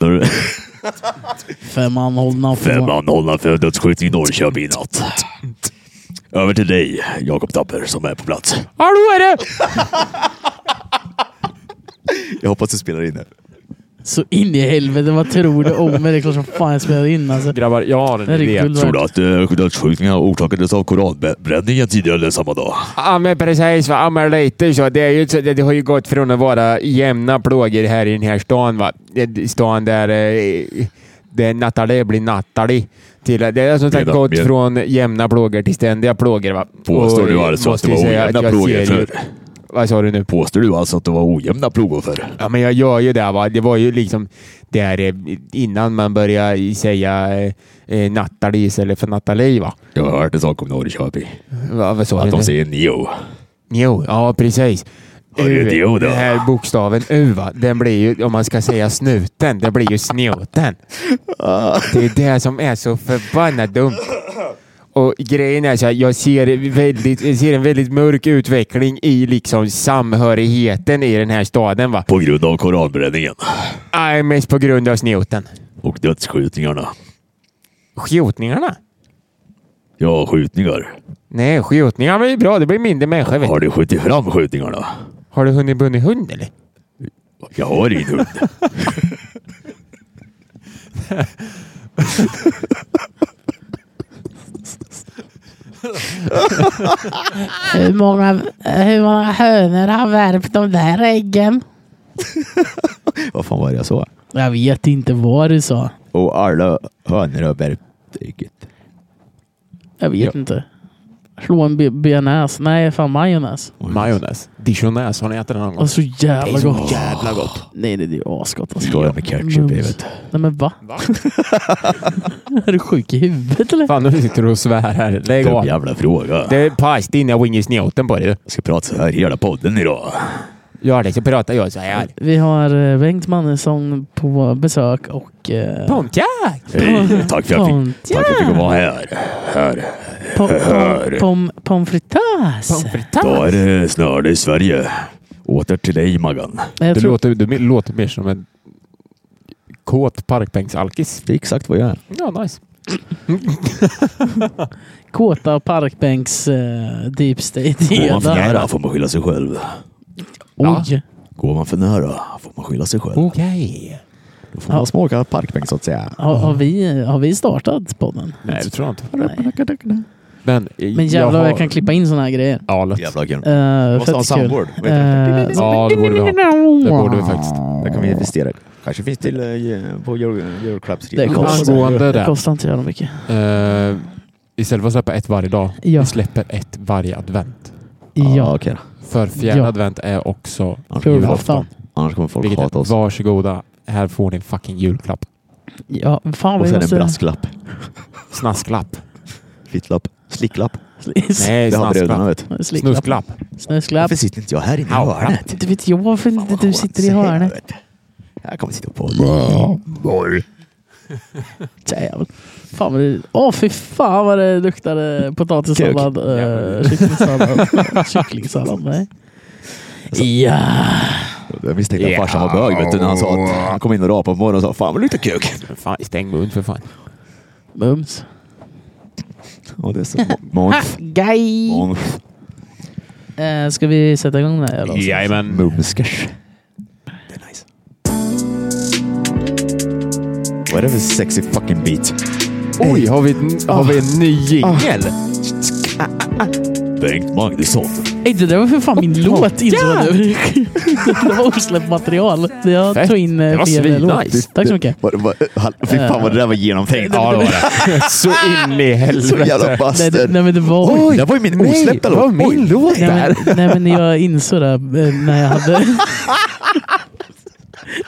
Fem anhållna. för- Fem anhållna för dödsskjutning i Norrköping i natt. Över till dig, Jakob Tapper, som är på plats. Hallå är det! Jag hoppas du spelar in det. Så in i helvete, vad tror du om mig? Det är klart som fan jag spelar in alltså. Grabbar, jag har en Det här är idé. guld Tror du värt. att eh, dödsskjutningarna orsakades av koranbränningen tidigare samma dag? Ja men precis, va? Ja, men lite så. Det, är ju, så- det, det har ju gått från att vara jämna plågor här i den här stan. Va? Det- Stan där, eh, där Nathalie blir Nathalie. Till, det har som sagt Medan- gått med- från jämna plågor till ständiga plågor. Va? Påstår Och, du eh, alltså att måste det var ju säga att ojämna jag plågor ser ju- förr? Vad sa du nu? Påstår du alltså att det var ojämna plågor förr? Ja, men jag gör ju det. Va? Det var ju liksom där eh, innan man började säga eh, eh, Nathalie istället för Nathalie. Va? Jag har hört en sak om Norrköping. Va, vad sa Att du? de nu? säger Neo. Jo, ja precis. Ja, det är det då. den här bokstaven U, va? den blir ju, om man ska säga snuten, den blir ju snuten. Det är det som är så förbannat dumt. Och grejen är så här, jag ser, väldigt, jag ser en väldigt mörk utveckling i liksom samhörigheten i den här staden. Va? På grund av koranbränningen Nej, mest på grund av snuten. och dödsskjutningarna. Skjutningarna? Ja, skjutningar. Nej, skjutningar men det är bra. Det blir mindre människor. Vet. du. Har du skjutit fram skjutningarna? Har du hunnit bundit hund eller? Jag har ingen hund. Hur många, hur många hönor har värpt de där äggen? Vad fan var det jag sa? Jag vet inte vad du sa. Och alla hönor har värpt ägget. Jag vet inte. Slå en be- bearnaise. Nej, fan majonnäs. Majonnäs. Dijonäs, har ni ätit det någon gång? Och så Det är jävla så gott. jävla gott. Nej, det är ju asgott. alltså. Skål med ketchup i Mums. vet. Nej men va? är du sjuk i huvudet eller? Fan, nu sitter du och svär här. Lägg Dum av. jävla fråga. Det är pajs din, jag ringer snuten på dig. Jag ska prata så här hela podden idag. Gör det så pratar jag så här. Vi har eh, Bengt Mannesson på besök och... eh, Pontiac! Hej, tack för att jag fick, tack för att jag fick vara här. Här. pom, pom, pom, pommes frites. Pommes Då är frites. det snöre i Sverige. Åter till dig Maggan. Jag Du tror, låter, du låter mer som en kåt parkbänksalkis. Det är exakt vad jag är. Ja, nice. kåta parkbänks eh, deep state Går man för gädda. nära får man skylla sig själv. Oj. Går man för nära får man skylla sig själv. Okej. Då får man Ja. smaka parkbänk så att säga. Har, har, vi, har vi startat podden? Nej, det tror jag inte. Nej. Men, Men jävlar vad jag kan klippa in sådana här grejer. Ja, lätt. Jävla kul. Uh, måste ha en soundboard. Vad heter Uh, Ja, det borde vi ha. Det borde vi faktiskt. Där kan vi investera. Kanske finns till eh, på Euro- Euroclubs Det kostar. Angående Det det. kostar inte jävla mycket. eh, Istället för att släppa ett varje dag, Ja. vi släpper ett varje advent. Ja. okej då. För fjärde Ja. advent är också Annars kommer folk- Julafton. Annars kommer folk Vilket hata oss. varsågoda, här får ni en fucking julklapp. Ja, fan Och vi sen en måste... brasklapp. Snasklapp. Fittlapp. Slicklapp. Slis- Nej, Det har vi redan snasklapp. vet. Slicklapp. Snusklapp. Snuslapp. Varför sitter inte jag här inne i Au. hörnet? Inte vet jag varför inte du sitter i hörnet. Jag kommer sitta på Jävlar. Fan vad det... Åh fy fan vad det luktade potatissallad, Kuk. eh, kycklingsallad. kycklingsallad, nej. Ja, Jag misstänkte att Ja. farsan var bög vet du, när han sa att han kom in och rapade på morgonen och sa Fan vad det luktar kuk. Fan, stäng mun för fan. mums. Ja, det är så. Måns. Guy! Måns. Eh, ska vi sätta igång det här jävla avsnittet? Jajamän. Mumskers. Det är nice. Vad är det för sexy fucking beat? Oj, har vi, ett- har vi en ny jingel? Bengt Magnusson. Ej, det där var för fan min låt insåg jag nu. Det var osläppt material. Jag Fett. tog in eh, Det var fel svinnice. låt. Tack så mycket. Vad- vad- hall- Fy fan vad det där var genomtänkt. Ja, det var det. Så in i Så jävla helvete. Nej, det, bastard. nej men det var... Oj, det var ju min osläppta låt. Nej, det var min Oj. låt Nej där. men, nej men jag insåg det eh, när jag hade...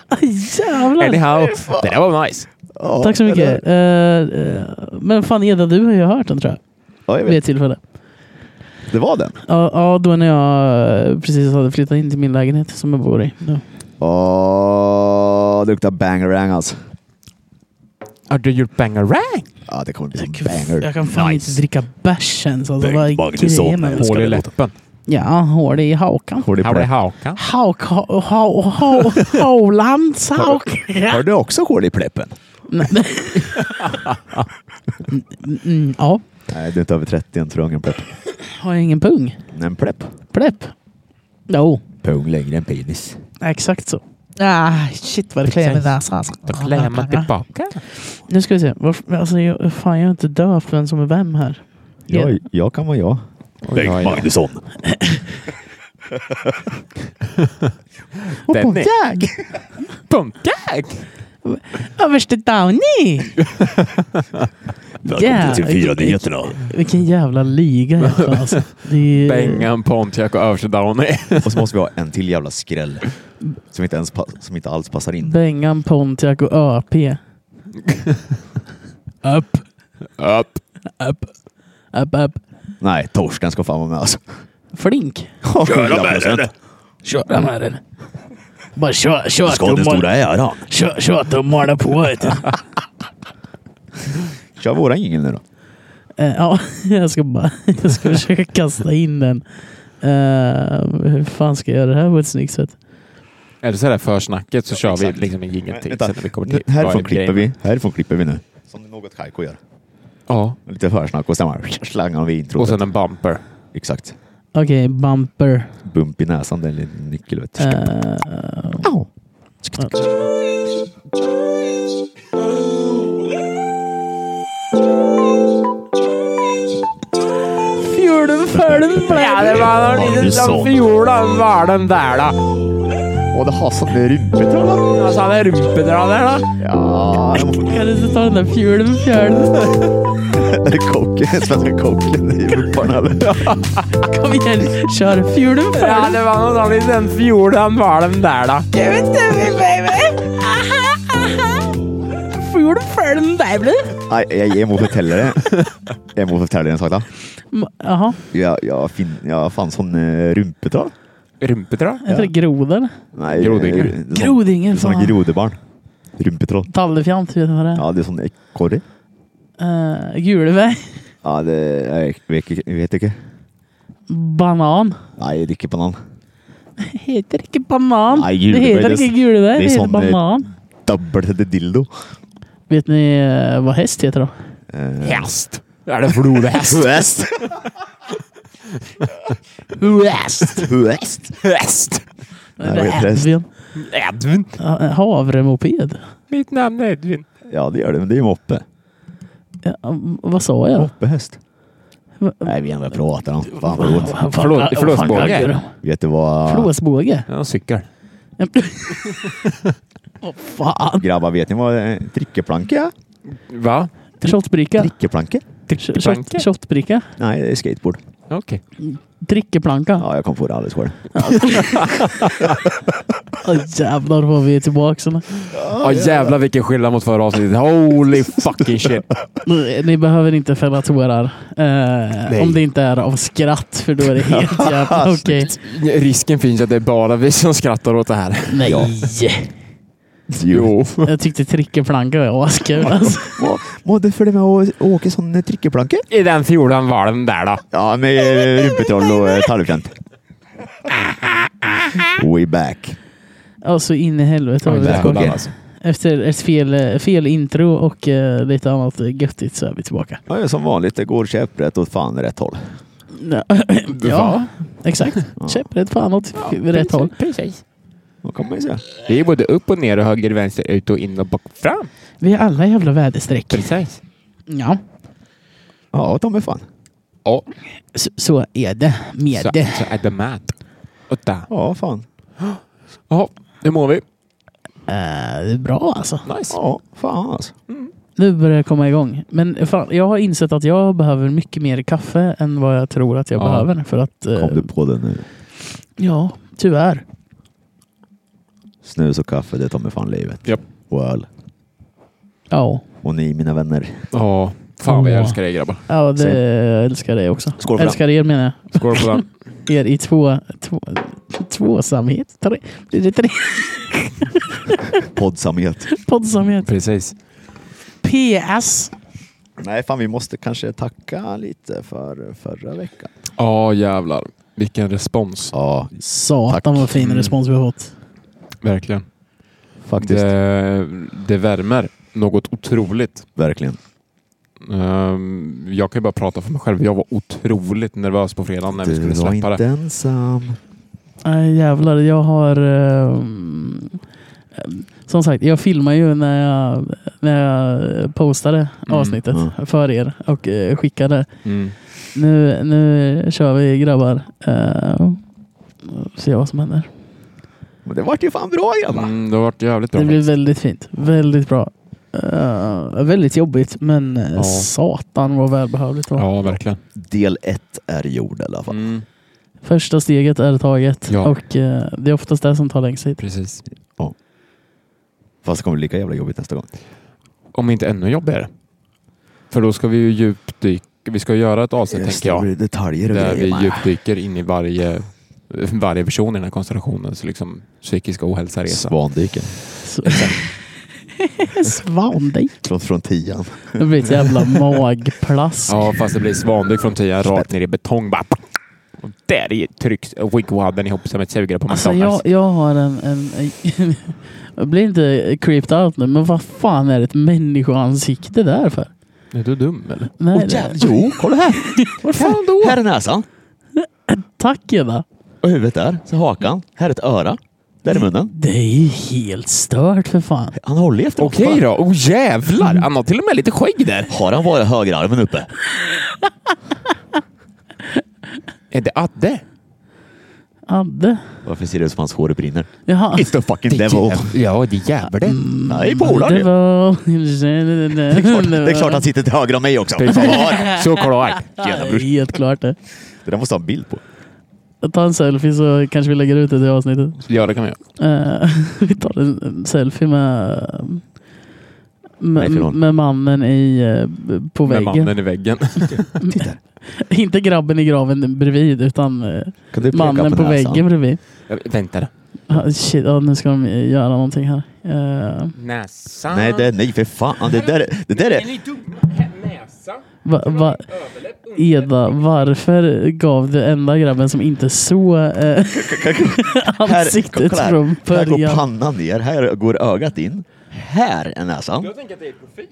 Aj, Jävlar! Anyhow, det där var nice. Ja, Tack så eller- mycket. Eh, eh, men fan Eda, du har ju hört den tror jag. Ja, jag Vid vet. ett tillfälle. Det var den. Ja, ja, då när jag eh, precis hade flyttat in till min lägenhet som jag bor i. nu. Åh, det luktar bangerang alltså. Har du gjort bangarang? Ja, det kommer bli en Jag banger. kan fan Nice. inte dricka bärs ens. Alltså, Bengt vad är Magnusson. grejen med det? Hål i den läppen. Ja, hål i hakan. Hård i Har du plä. hakan? Hauk, ha, ha, ha, Haulands hauk. Har du också hål i pleppen? Mm, ja, Nej, du är inte över 30 än tror jag, ingen plepp. har jag ingen pung? En plepp. Plepp? Jo, Pung längre än penis. exakt så. Ah, shit vad det kliar i min näsa. alltså. Då klär man tillbaka. Nu ska vi se. Varför, alltså, jag, fan, jag är inte döpt vem som är vem här. Jag, jag kan vara jag. Oj, Bengt oj, oj. Magnusson. Den är- Jag! Punkag! Överste Downey! Välkommen till vilken- TV4-nyheterna. Vilken jävla liga jag har, alltså. Det är, Bengan, Pontiac och Överstedowny. Och så måste vi ha en till jävla skräll. Som inte, ens pa- som inte alls passar in. Bengan, Pontiac och ÖP. Upp, Upp. upp, upp, upp. Nej, Torsten ska fan vara med alltså. Flink. Köra med den! Köra med den. Bara kö- Ska köta den och stora mala- äran. kö- köta och mala på. Vet du. Kör våran jingel nu då. Eh, ja, jag ska bara jag ska försöka kasta in den. Eh, hur fan ska jag göra det här på ett snyggt sätt? Är det så här försnacket så kör vi exakt. liksom en jingel till. Vänta, sen när vi kommer till härifrån vad grejen klipper är. vi. Härifrån klipper vi nu. Som något Kaiko gör. Ja, Lite försnack och sen bara slangar vi introt. och sen en bumper. Exakt. Okej, bumper. Bump i näsan, det är en liten nyckel. Vet du. Eh, Au. Fjolen följde Ja, det var någon liten som Magnusson. fjolen var den där då. Åh, det har sån där rumpetroll. Alltså han är rumpedrag där då. Ja, det må- kan du inte ta den där fjulen fjälen? är det kocken? Svenska kocken i rumpan eller? Kom igen, kör fjulen Ja, fjälen. det var någon sån liten fjolen var den där då. Fjulen fjälen där blir. Nej, jag, jag må fortälla det. Jag må fortälla dig en sak då. Jaha, Jag, jag, fin, jag fann sån eh, rumpetroll. Rumpedrag? heter det grodan? Nej, Grodinge. eh, sån- Grodingen, Sån fan. grodebarn. Rumpetroll. Tallefjant, vet du vad det är? Ja, det är sån ekorre. Uh, Guleväg. Ja, det jag vet, inte- jag vet inte. Banan. Nej, det är inte banan. Det heter inte banan. Nej, det Guleberg, heter det är- inte Guleberg, det det, är heter sån, eh, banan. Dubbel till det dildo. Vet ni eh, vad häst heter då? Eh, Häst. Är det flodhäst? Häst. Häst. Häst. Häst. Nej, vad heter häst? Edvin. Edvin. Ja, en Havremoped. Mitt namn är Edvin. Ja, det gör det, men det är ju moppe. Ja, vad sa jag? Moppehäst. Va- Nej, vi ändå pratar om. Fan vad roligt. Vad fan- Förlåt- vad fan förlåtbåge. gaggar de? Vet du vad... Flåsbåge. Ja, cykel. Åh fan. Grabbar, vet ni vad eh, drickeplanka är? Va? Shotbricka. Drickeplanka? Sh- shot- Shotbricka. Nej, det är skateboard. Okej. Drickeplanka. Ja, jag kom på det alldeles själv. Åh jävlar vad vi är tillbaka. nu. Ja jävlar vilken skillnad mot förra avsnittet. Holy fucking shit. Ni- Ni behöver inte fälla tårar. Eh, om det inte är av skratt, för då är det helt jävla okej. Risken finns att det är bara vi som skrattar åt det här. Nej! Ja. Jo. Jag tyckte trickeplanka var askul. Alltså. Må, må du följa med och och åka sån eh, drickeplanka? I den fjorden var den där då. Ja, med eh, rumpetroll och eh, tallfjant. We back. Ja, så in i helvete. har vi där. det. okej. alltså. Efter ett fel, eh, fel intro och eh, lite annat göttigt så är vi tillbaka. Ja, ja, som vanligt, det går käpprätt åt fan rätt håll. Ja, Va? exakt. Käpprätt fan åt rätt håll. Precis. Vad kan man ju säga. Det är både upp och ner och höger, vänster, ut och in och bak fram. Vi är alla jävla väderstreck. Precis. Ja, Ja, ta mig fan. Ja. så, så är det med Så, det. Eh, så är det med. Och där. Ja, fan. Jaha, nu mår vi. Eh, det är bra alltså. Nice. Ja, fan alltså. Nu börjar det komma igång. Men fan, jag har insett att jag behöver mycket mer kaffe än vad jag tror att jag Ja. behöver. För att, eh, Kom du på det nu? Ja, tyvärr. Snus och kaffe, det tar mig fan livet. Japp. Och öl. Ja, Och ni, mina vänner. Ja. Fan vad jag Ja. älskar dig grabbar. ja det, Säg. jag älskar dig också. Skål för älskar er menar jag. Skål på den. er i två, två, tvåsamhet. Tre, blir det tre Poddsamhet. poddsamhet? Precis. PS. Nej, fan vi måste kanske tacka lite för förra veckan. Ja jävlar. Vilken respons. Ja, Tack. Satan vad fin Mm. respons vi har fått. Verkligen. faktiskt. Det, det värmer. något otroligt. Verkligen. Ehm, jag kan ju bara prata för mig själv. Jag var otroligt nervös på fredagen när vi Du skulle var släppa inte det. ensam. Nej jävlar, jag har... eh, mm, eh, som sagt, jag filmar ju när jag, när jag postade avsnittet ja. för er och eh, skickade. Mm. Nu, nu kör vi grabbar. Eh, se vad som händer. Men det vart ju fan bra grabbar. Mm, det har varit jävligt bra. Det blir väldigt fint. Väldigt bra. Eh, väldigt jobbigt, men eh, Ja. satan vad välbehövligt det var. Ja, verkligen. Del ett är gjord i alla fall. Mm, Första steget är taget Ja. och eh, det är oftast det som tar längst tid. precis. Mm. Fast det kommer bli lika jävla jobbigt nästa gång. Om inte ännu jobbigare. För då ska vi ju djupdyka. Vi ska göra ett avsnitt, Just tänker jag. det, blir detaljer och Där grejer. vi man. djupdyker in i varje, varje person i den här konstellationen. Så liksom psykisk ohälsa-resa. Svandyken. Så- Svandejk. Från, från tian. Det blir ett jävla magplask. Ja, fast det blir svandyk från tian rakt ner i betong. Bara. Och där i trycks wigwadden ihop som ett sugrör på Alltså McDonalds. jag, jag har en... en, en jag blir inte creeped out nu, men vad fan är det ett människoansikte där för? Är du dum eller? Nej, Åh, det- jävlar, jo, kolla här! Vad fan då? Här är näsan. Tack Edda! Och huvudet där. Så hakan. Här är ett öra. Där är munnen. Det är ju helt stört för fan. Han håller ju efter något. Okej då. Oh jävlar! Han har till och med lite skägg där. Har han bara högerarmen uppe? Är det Adde? Adde. Varför ser det ut som hans hår brinner? Jaha. It's the fucking devil. jäv- Ja, det är jävlar det. Nej, polare. Det Det var... är klart- det är klart han sitter till höger om mig också. Fan, Såklart. jävla Ja, bror. Helt klart det. Det där måste jag ha en bild på. Ta en selfie så kanske vi lägger ut det i avsnittet. Ja, det kan vi göra. Eh, vi tar en en selfie med, Nej, med, förlåt. med mannen i, eh, på Med väggen. mannen i väggen. Inte grabben i graven bredvid utan eh, Kan du peka mannen på, näsan? väggen bredvid. Vänta då. Ah, shit, ja, nu ska de göra någonting här. Eh, Näsan. Nej, det, nej för fan. Det där, det där är... ni dumma? Näsa? va, va, Mm. Eda, varför gav du enda grabben som inte såg eh, ansiktet kolla här. från Här går början? pannan ner, här går ögat in. Här är näsan. tänker att det är profil.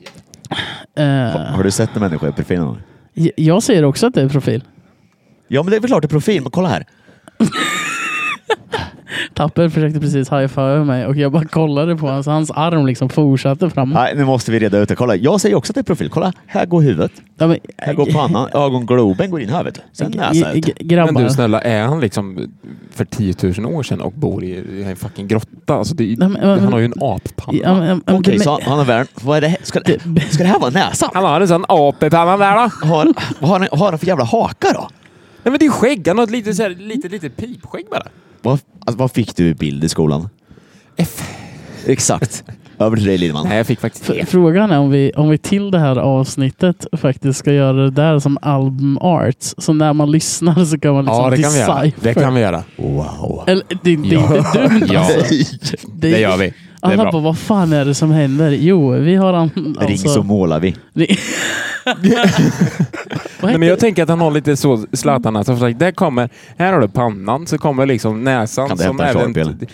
Har, Eh, har du sett en människa i profil någon gång? j- jag säger också att det är profil. Ja, men det är väl klart det är profil, men kolla här. Tapper försökte precis high-fiva mig och jag bara kollade på hans, hans arm liksom fortsatte framåt. Nej, nu måste vi reda ut det. Kolla, jag säger också att det är profil. Kolla, här går huvudet. Ja, men, Här går pannan, ögongloben går in här vet du. Sen näsa ut. g- Men grabbar. du snälla, är han liksom för 10 000 år sedan och bor i i en fucking grotta? Alltså det, är- Nej, men- han har ju en appanna. Ja, men- men- Okej, det- så han- han har värn. Vad är det här? Ska, det, ska det här vara näsan? Han har en sån apepanna där då. Har, vad har, han, vad har han för jävla haka då? Nej men det är skägg. Han har ett litet, så här, litet, litet pipskägg bara. Vad, alltså, vad fick du i bild i skolan? F. Exakt. Över till dig Lidman. Nej, jag fick faktiskt F- F. Frågan är om vi, om vi till det här avsnittet faktiskt ska göra det där som album art. Så när man lyssnar så kan man liksom Ja, det kan vi göra. decipher. Det kan vi göra. Wow. Eller, det, det är inte dumt Ja, alltså. det gör vi. Det är Alla bra. bara, vad fan är det som händer? Jo, vi har an, alltså... Ring så målar vi. Ring- Vad Nej, men heter jag tänker att han har lite så Zlatan alltså, för att där kommer, här har du pannan, så kommer liksom näsan. Kan du som hämta en även, sharpie,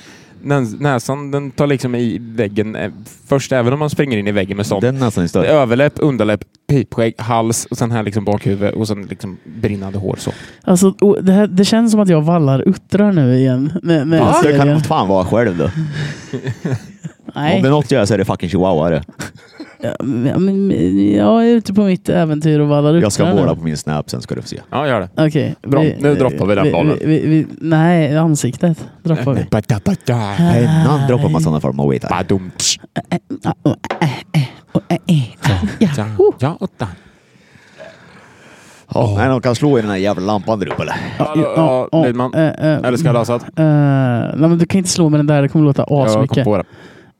nä- näsan den tar liksom i väggen eh, först, även om man springer in i väggen med sånt. Den näsan är större. Överläpp, underläpp, pipskägg, hals och sen här liksom bakhuvud och sen liksom brinnande hår så. Alltså, o- det, här, det känns som att jag vallar uttrar nu igen. Med, med Ja, det kan serien. du fan vara själv då. Om Nej. det är något jag gör så är det fucking chihuahua det. Ja, men, men, jag är ute på mitt äventyr och vallar uttrar Jag ska nu. måla på min snap sen ska du få se. Ja, gör det. Okej. Bra, nu droppar vi den bollen. Vi, vi, vi, nej, ansiktet Eh, droppar vi. Ah. Pennan droppar man i sådana form av weight. Badum. Ja, åtta. Nej, de kan slå i den här jävla lampan där uppe eller? Ja, Ja, Lidman. eh, eh, Eller ska jag lösa det? eh, nej, men du kan inte slå med den där, det kommer låta Jag kom asmycket. på det.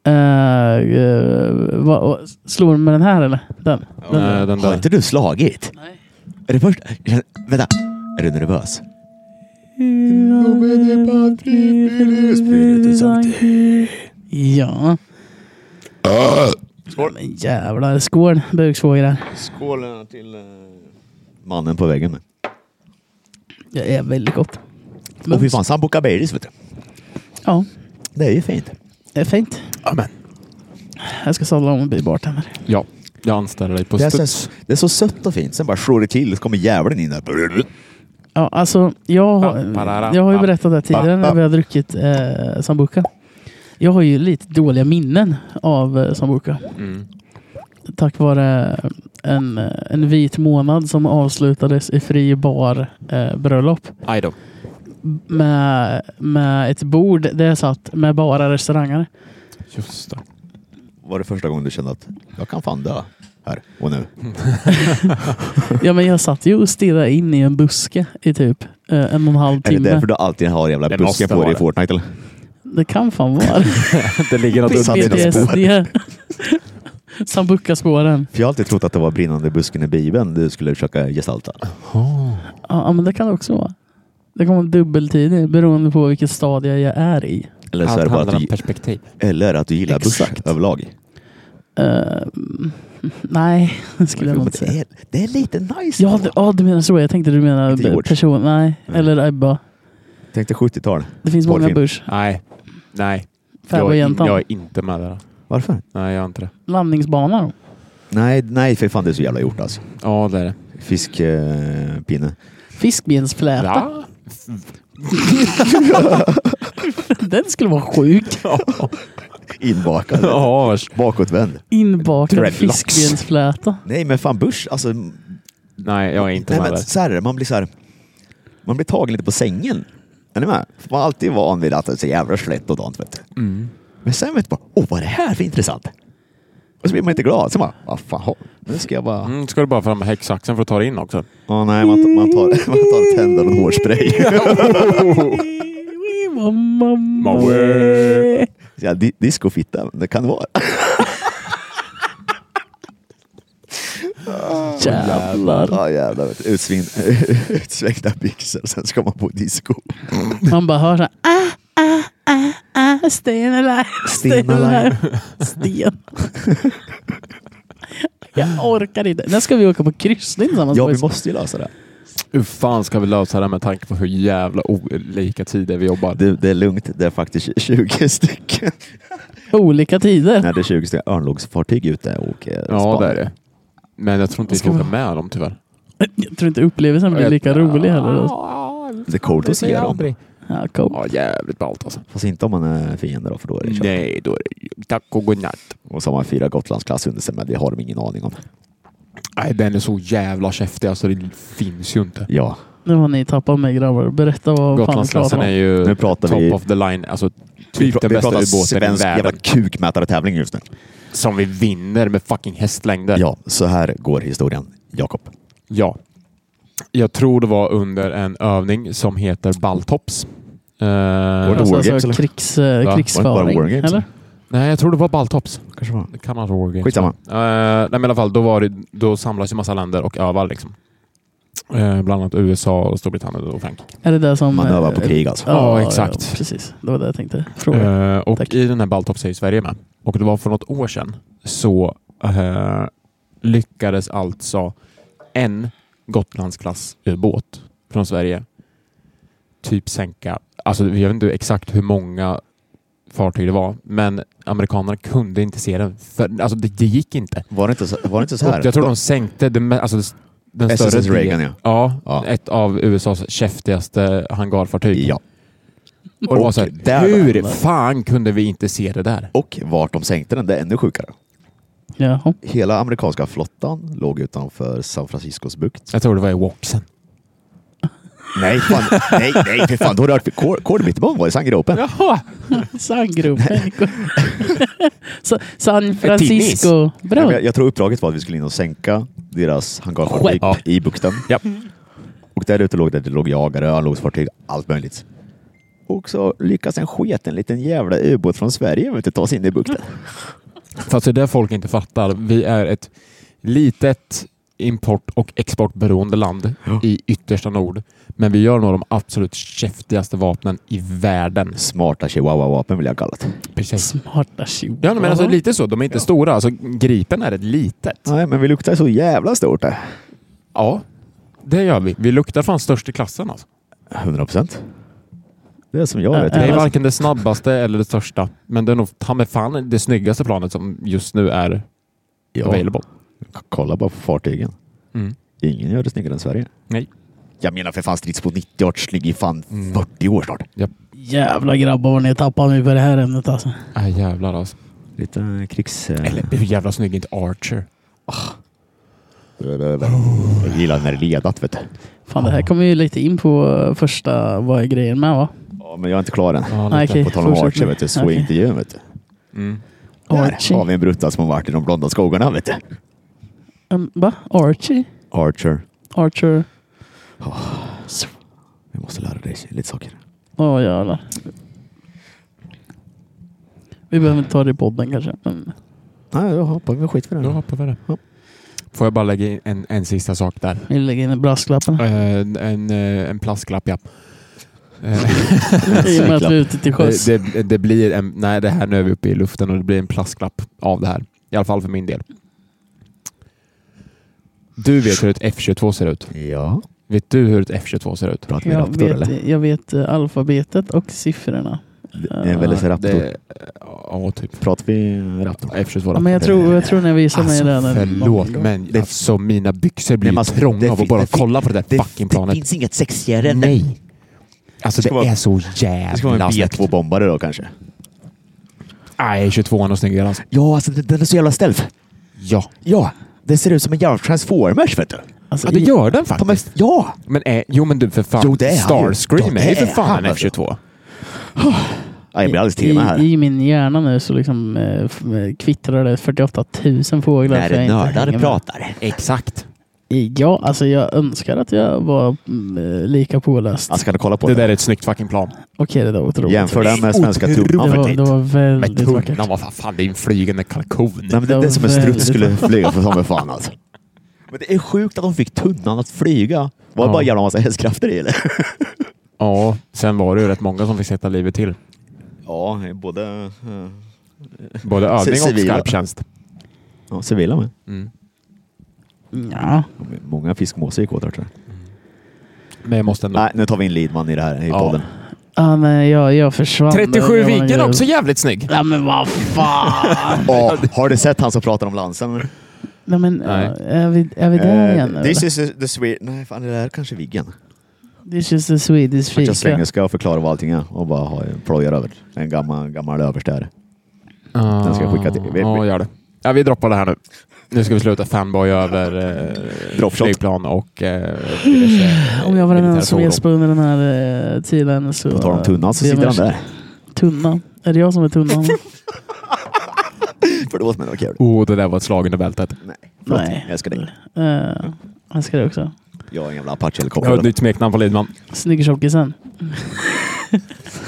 Uh, slår du med den här eller? Den? den. Eh, Den Har där. inte du slagit? Nej. Är det först? Vänta. Är du nervös? Spiritus Sancti. Ja. Skål. Men jävlar, skål buksvågrar. Skålen till eh, mannen på väggen. Det är väldigt gott. Och fy fan, sambuca baileys vet du. Ja, Det är ju fint. det är fint. Amen. Jag ska sadla om och bli bartender. Ja, jag anställer dig på Det, här studs. känns, det är så sött och fint. Sen bara slår det till så kommer djävulen in där. Ja, alltså, jag, har- Pa, parara, jag har ju pa. berättat det här tidigare när vi har druckit eh, sambuca. Jag har ju lite dåliga minnen av eh, sambuca. Mm. Tack vare en, en vit månad som avslutades i fri bar eh, bröllop. Aj då. Med, med ett bord där jag satt med bara restaurangare. Just det. Var det första gången du kände att jag kan fan dö här och nu? Ja, men jag satt ju och stirrade in i en buske i typ eh, en och en halv Är det timme. därför du alltid har jävla Det busken måste på dig vara i det. Fortnite eller? Det kan fan vara. Det ligger något Satt i något spår. PTSD. Sambuca-spåren. För jag har alltid trott att det var brinnande busken i Bibeln du skulle försöka gestalta. Ja, men det kan det också vara. Det kommer dubbeltid beroende på vilket stadie jag är i. Eller, så är Allt det bara handlar att om du, perspektiv. eller att du gillar buskar Exakt. överlag. Eh, nej, det skulle jag nog Men inte det, säga. är, det är lite nice. Ja, du, ja, du menar så. Jag tänkte du menar Inte b- George. person. Nej, eller Ebba. Tänk dig 70-tal. Det finns många Porrfilm. börs. Nej. Nej. Jag är, in, jag Fäbodjäntan. är inte med där. Varför? Nej, jag är inte det. Landningsbanan. Nej, nej för fan det är så jävla gjort alltså. Ja, det är det. Fiskpinne. Eh, pinne. Fiskbensfläta. Ja. Den skulle vara sjuk. Inbakad. Ja, vars- Bakåtvänd. Inbakad Dreadlocks. fiskbensfläta. Nej men fan börs, alltså. Nej, jag är inte nej, med men, där. så här, är det, man blir så här. Man blir tagen lite på sängen. Är ni med? För Man är alltid van vid att det är så jävla slätt och dant vet du. Mm. Men sen vet man, åh vad är det här för intressant? Och så blir man inte glad. Så man, vad fan, ha, nu ska jag bara... Mm, ska du bara fram med häcksaxen för att ta det in också? Ja, nej, man, man, tar, man tar tänder och en hårspray. Mamma. ja, di, discofitta, det kan det vara. Jävlar. Ja, jävlar. vet du. Utsvin, utsvängda byxor och sen ska man på disco. Alltså, Man bara hör så här. Ah, ah, ah, ah, stay alive. Stay Stay alive. alive. Sten. Jag orkar inte. När ska vi åka på kryssning tillsammans? Ja, boys? vi alltså- måste ju lösa det. Hur fan ska vi lösa det här med tanke på hur jävla olika tider vi jobbar? det. Det är lugnt, det är faktiskt 20 stycken. Olika tider. Nej, det är 20 stycken örnlogsfartyg ute och eh, ja, det spanar. är det. Men jag tror inte vi Ska får vi- åka med dem tyvärr. Jag tror inte upplevelsen blir lika rolig heller. heller. Det är coolt att se dem. Ja, cool. Ja, jävligt ballt alltså. Fast inte om man är fiende då, för då är det kört. Nej, då är det tack och godnatt. Och så har man fyra Gotlandsklass under sig, men det har de ingen aning om. Nej, den är så jävla käftig alltså. Det finns ju inte. Ja, Nu har ni tappat mig grabbar. Berätta vad fan vi Gotlandsklassen pratar är om. ju Nu pratar Eh, top vi- of the line. Alltså, vi, typ pr- den vi bästa pratar ubåten i svensk jävla världen. kukmätartävling just nu. Som vi vinner med fucking hästlängder. Ja, så här går historien, Jakob. Ja. Jag tror det var under en övning som heter Balltops. Eh, det Alltså, War Games, alltså eller? krigs, det var krigsföring. War Games. Eller? nej, jag tror det var Balltops. Kanske var. Det kan man tro. Skitsamma. Eh, nej, men i alla fall, då, var det, då samlas ju massa länder och övar. Liksom. Eh, bland annat USA, och Storbritannien och Frankrike. Är det det som... Man övar på eh, krig alltså. Ja, exakt. precis. Det var det jag tänkte fråga. Eh, och Tack. i den här Balltops är ju Sverige med. Och det var för något år sedan så eh, lyckades alltså en Gotlandsklassbåt från Sverige typ sänka, alltså jag vet inte exakt hur många fartyg det var, men amerikanerna kunde inte se den. För, alltså det, det gick inte. Var det inte så, var det inte så Och här? jag tror de sänkte det, me- alltså, den större SSS delen- Reagan, ja. Ja, Ja. ett av USAs käftigaste hangarfartyg. ja. Och, det var så här, Och där hur då? fan kunde vi inte se det där? Och vart de sänkte den, det är ännu sjukare. Jaha. Hela amerikanska flottan låg utanför San Franciscos bukt. Jag tror det var i Woxen. Nej, fan, nej, nej, för fan. Då rörde vi Kår- Kårdbitterbomb var i Sandgropen. Jaha! Sandgropen. Sa- San Tidnis. Francisco. Nej, men Bra. Jag, jag tror uppdraget var att vi skulle in och sänka deras hangarfartyg Skepp. Ja. i bukten. Ja. Och där ute låg det, det låg jagare, örlogsfartyg, allt möjligt. Och så lyckas en sketen liten jävla ubåt från Sverige vet du, ta sig in i bukten. Fast det är det folk inte fattar. Vi är ett litet import och exportberoende land i yttersta nord. Men vi gör nog de absolut käftigaste vapnen i världen. Smarta chihuahua-vapen vill jag kalla det. Precis. Smarta tjuv. Ja, men alltså lite så. De är inte stora. Alltså, gripen är rätt litet. Nej, men vi luktar så jävla stort där. Ja, det gör vi. Vi luktar fan störst i klassen alltså. 100 procent. Det är som jag vet. Ja, Det är alltså- varken det snabbaste eller det största, men det är nog ta mig fan det snyggaste planet som just nu är Ja, available. kolla bara på fartygen. Mm. Ingen gör det snyggare än Sverige. Nej. Jag menar för fan stridsbåt 90 har varit snygg i fan Mm. 40 år snart. Jävla grabbar vad ni tappar mig på det här ämnet alltså. Äh, jävlar alltså. Lite krigs... Eller hur jävla snygg är inte Archer? Jag gillar när det är ledat vet du. Fan det här kommer ju lite in på eh, första, vad är grejen med va? Ja, men jag är inte klar än. Ja, Nej, lite. okej. På tal om fortsätt Archer nu. vet du, så Okej. i intervjun vet du. Mm. Där har Archie? vi en brutta som har varit i de blonda skogarna vet du. Um, va? Archie? Archer. Archer? Vi måste lära dig lite saker. Åh jävlar. Vi behöver inte ta det i podden kanske. Men... Nej, då hoppar vi skit för Då det. hoppar vi det. Ja. Får jag bara lägga in en, en sista sak där? Vi lägger in i brasklappen. Eh, en, eh, en plastklapp, ja. Eh, I och med att vi är ute till det, sjöss. det, det blir en... Nej, det här nu är vi uppe i luften och det blir en plastklapp av det här. I alla fall för min del. Du vet hur ett F22 ser ut. Ja. Vet du hur ett F22 ser ut? Pratar vi Jag raptor eller? vet, jag vet eh, alfabetet och siffrorna. Det är en väldigt raptor. Det, ja, typ. Pratar vi raptor? F22. Ja, men jag tror, jag tror när vi visar mig Alltså, den. förlåt, men Det- alltså, mina byxor Nej, blir men ju alltså, trånga det av fin- att bara det fin- kolla på det där fucking planet. finns inget sexigare Nej. Det Alltså det, ska vara- är så Det ska vara jävla en snyggt. B2-bombare då kanske? Nej, 22an och snyggare alltså. Ja, alltså den- den är så jävla stealth. Ja. Ja, det ser ut som en jävla transformers vet du. Alltså, ja, det i- gör den De är, faktiskt. ja! Men eh, jo, men du för fan. Jo, det är han ju. Ja, Starscream det är ju för är han, fan en alltså. F22. Ja, Jag blir alldeles till i, med här. I min hjärna nu så liksom eh, f- eh, kvittrar det 48 000 fåglar. När för jag inte hänger nördar med. pratar. Exakt. Ja, alltså jag önskar att jag var mm, eh, lika påläst. Alltså kan du kolla på Det det? där är ett snyggt fucking plan. Mm, Okej, det där var otroligt. Jämför den med svenska Otroligt. det, tunnan. var, Nej, det var Men väldigt vackert. tunnan, vad fan, fan, det är en flygande kalkon. men det, det är som en Det var strutt väldigt- skulle flyga för som en fan alltså. Men det är sjukt att de fick tunnan att flyga. Var det Ja. bara en jävla massa hästkrafter i eller? Ja, sen var det ju rätt många som fick sätta livet till. Ja, både Både övning och Civila. skarp tjänst. ja, civila med. Mm. Ja. Många fiskmåsar gick åt här, tror jag. Men jag måste ändå... Nej, nu tar vi in Lidman i det här i Ja. podden. Ah, nej, jag, jag försvann. Det 37 var en Viken grej. också jävligt snygg. Nej men vad fan! Ja, har du sett han som pratar om lansen? nej men Nej. eh, Är, vi, är vi där igen nu? Eh, this eller? is the Swedish... Nej, fan det där är kanske Viggen. This is the Swedish Vart jag fika. slänger ska jag förklara vad allting är och bara ha- plojar över. En gammal, gammal överste här. Den ska jag skicka till- vi- Ja, gör det. Ja, vi droppar det här nu. Nu ska vi sluta fanboy över eh, Dropshot. flygplan och... Eh, diverse, eh, Om jag var den militära enda som fordon. gäspade under den här eh, tiden så... På tal om tunnan så ber jag sitter om han där. Tunnan? Är det jag som är tunnan? Förlåt men det var kul. Åh, Oh, det där var ett slag under bältet. Förlåt, Nej. Jag älskar dig. Eh, jag ska det också. Jag är en jävla Jag har ett Apache-helikopter. nytt smeknamn på Lidman. Snygg-tjockisen.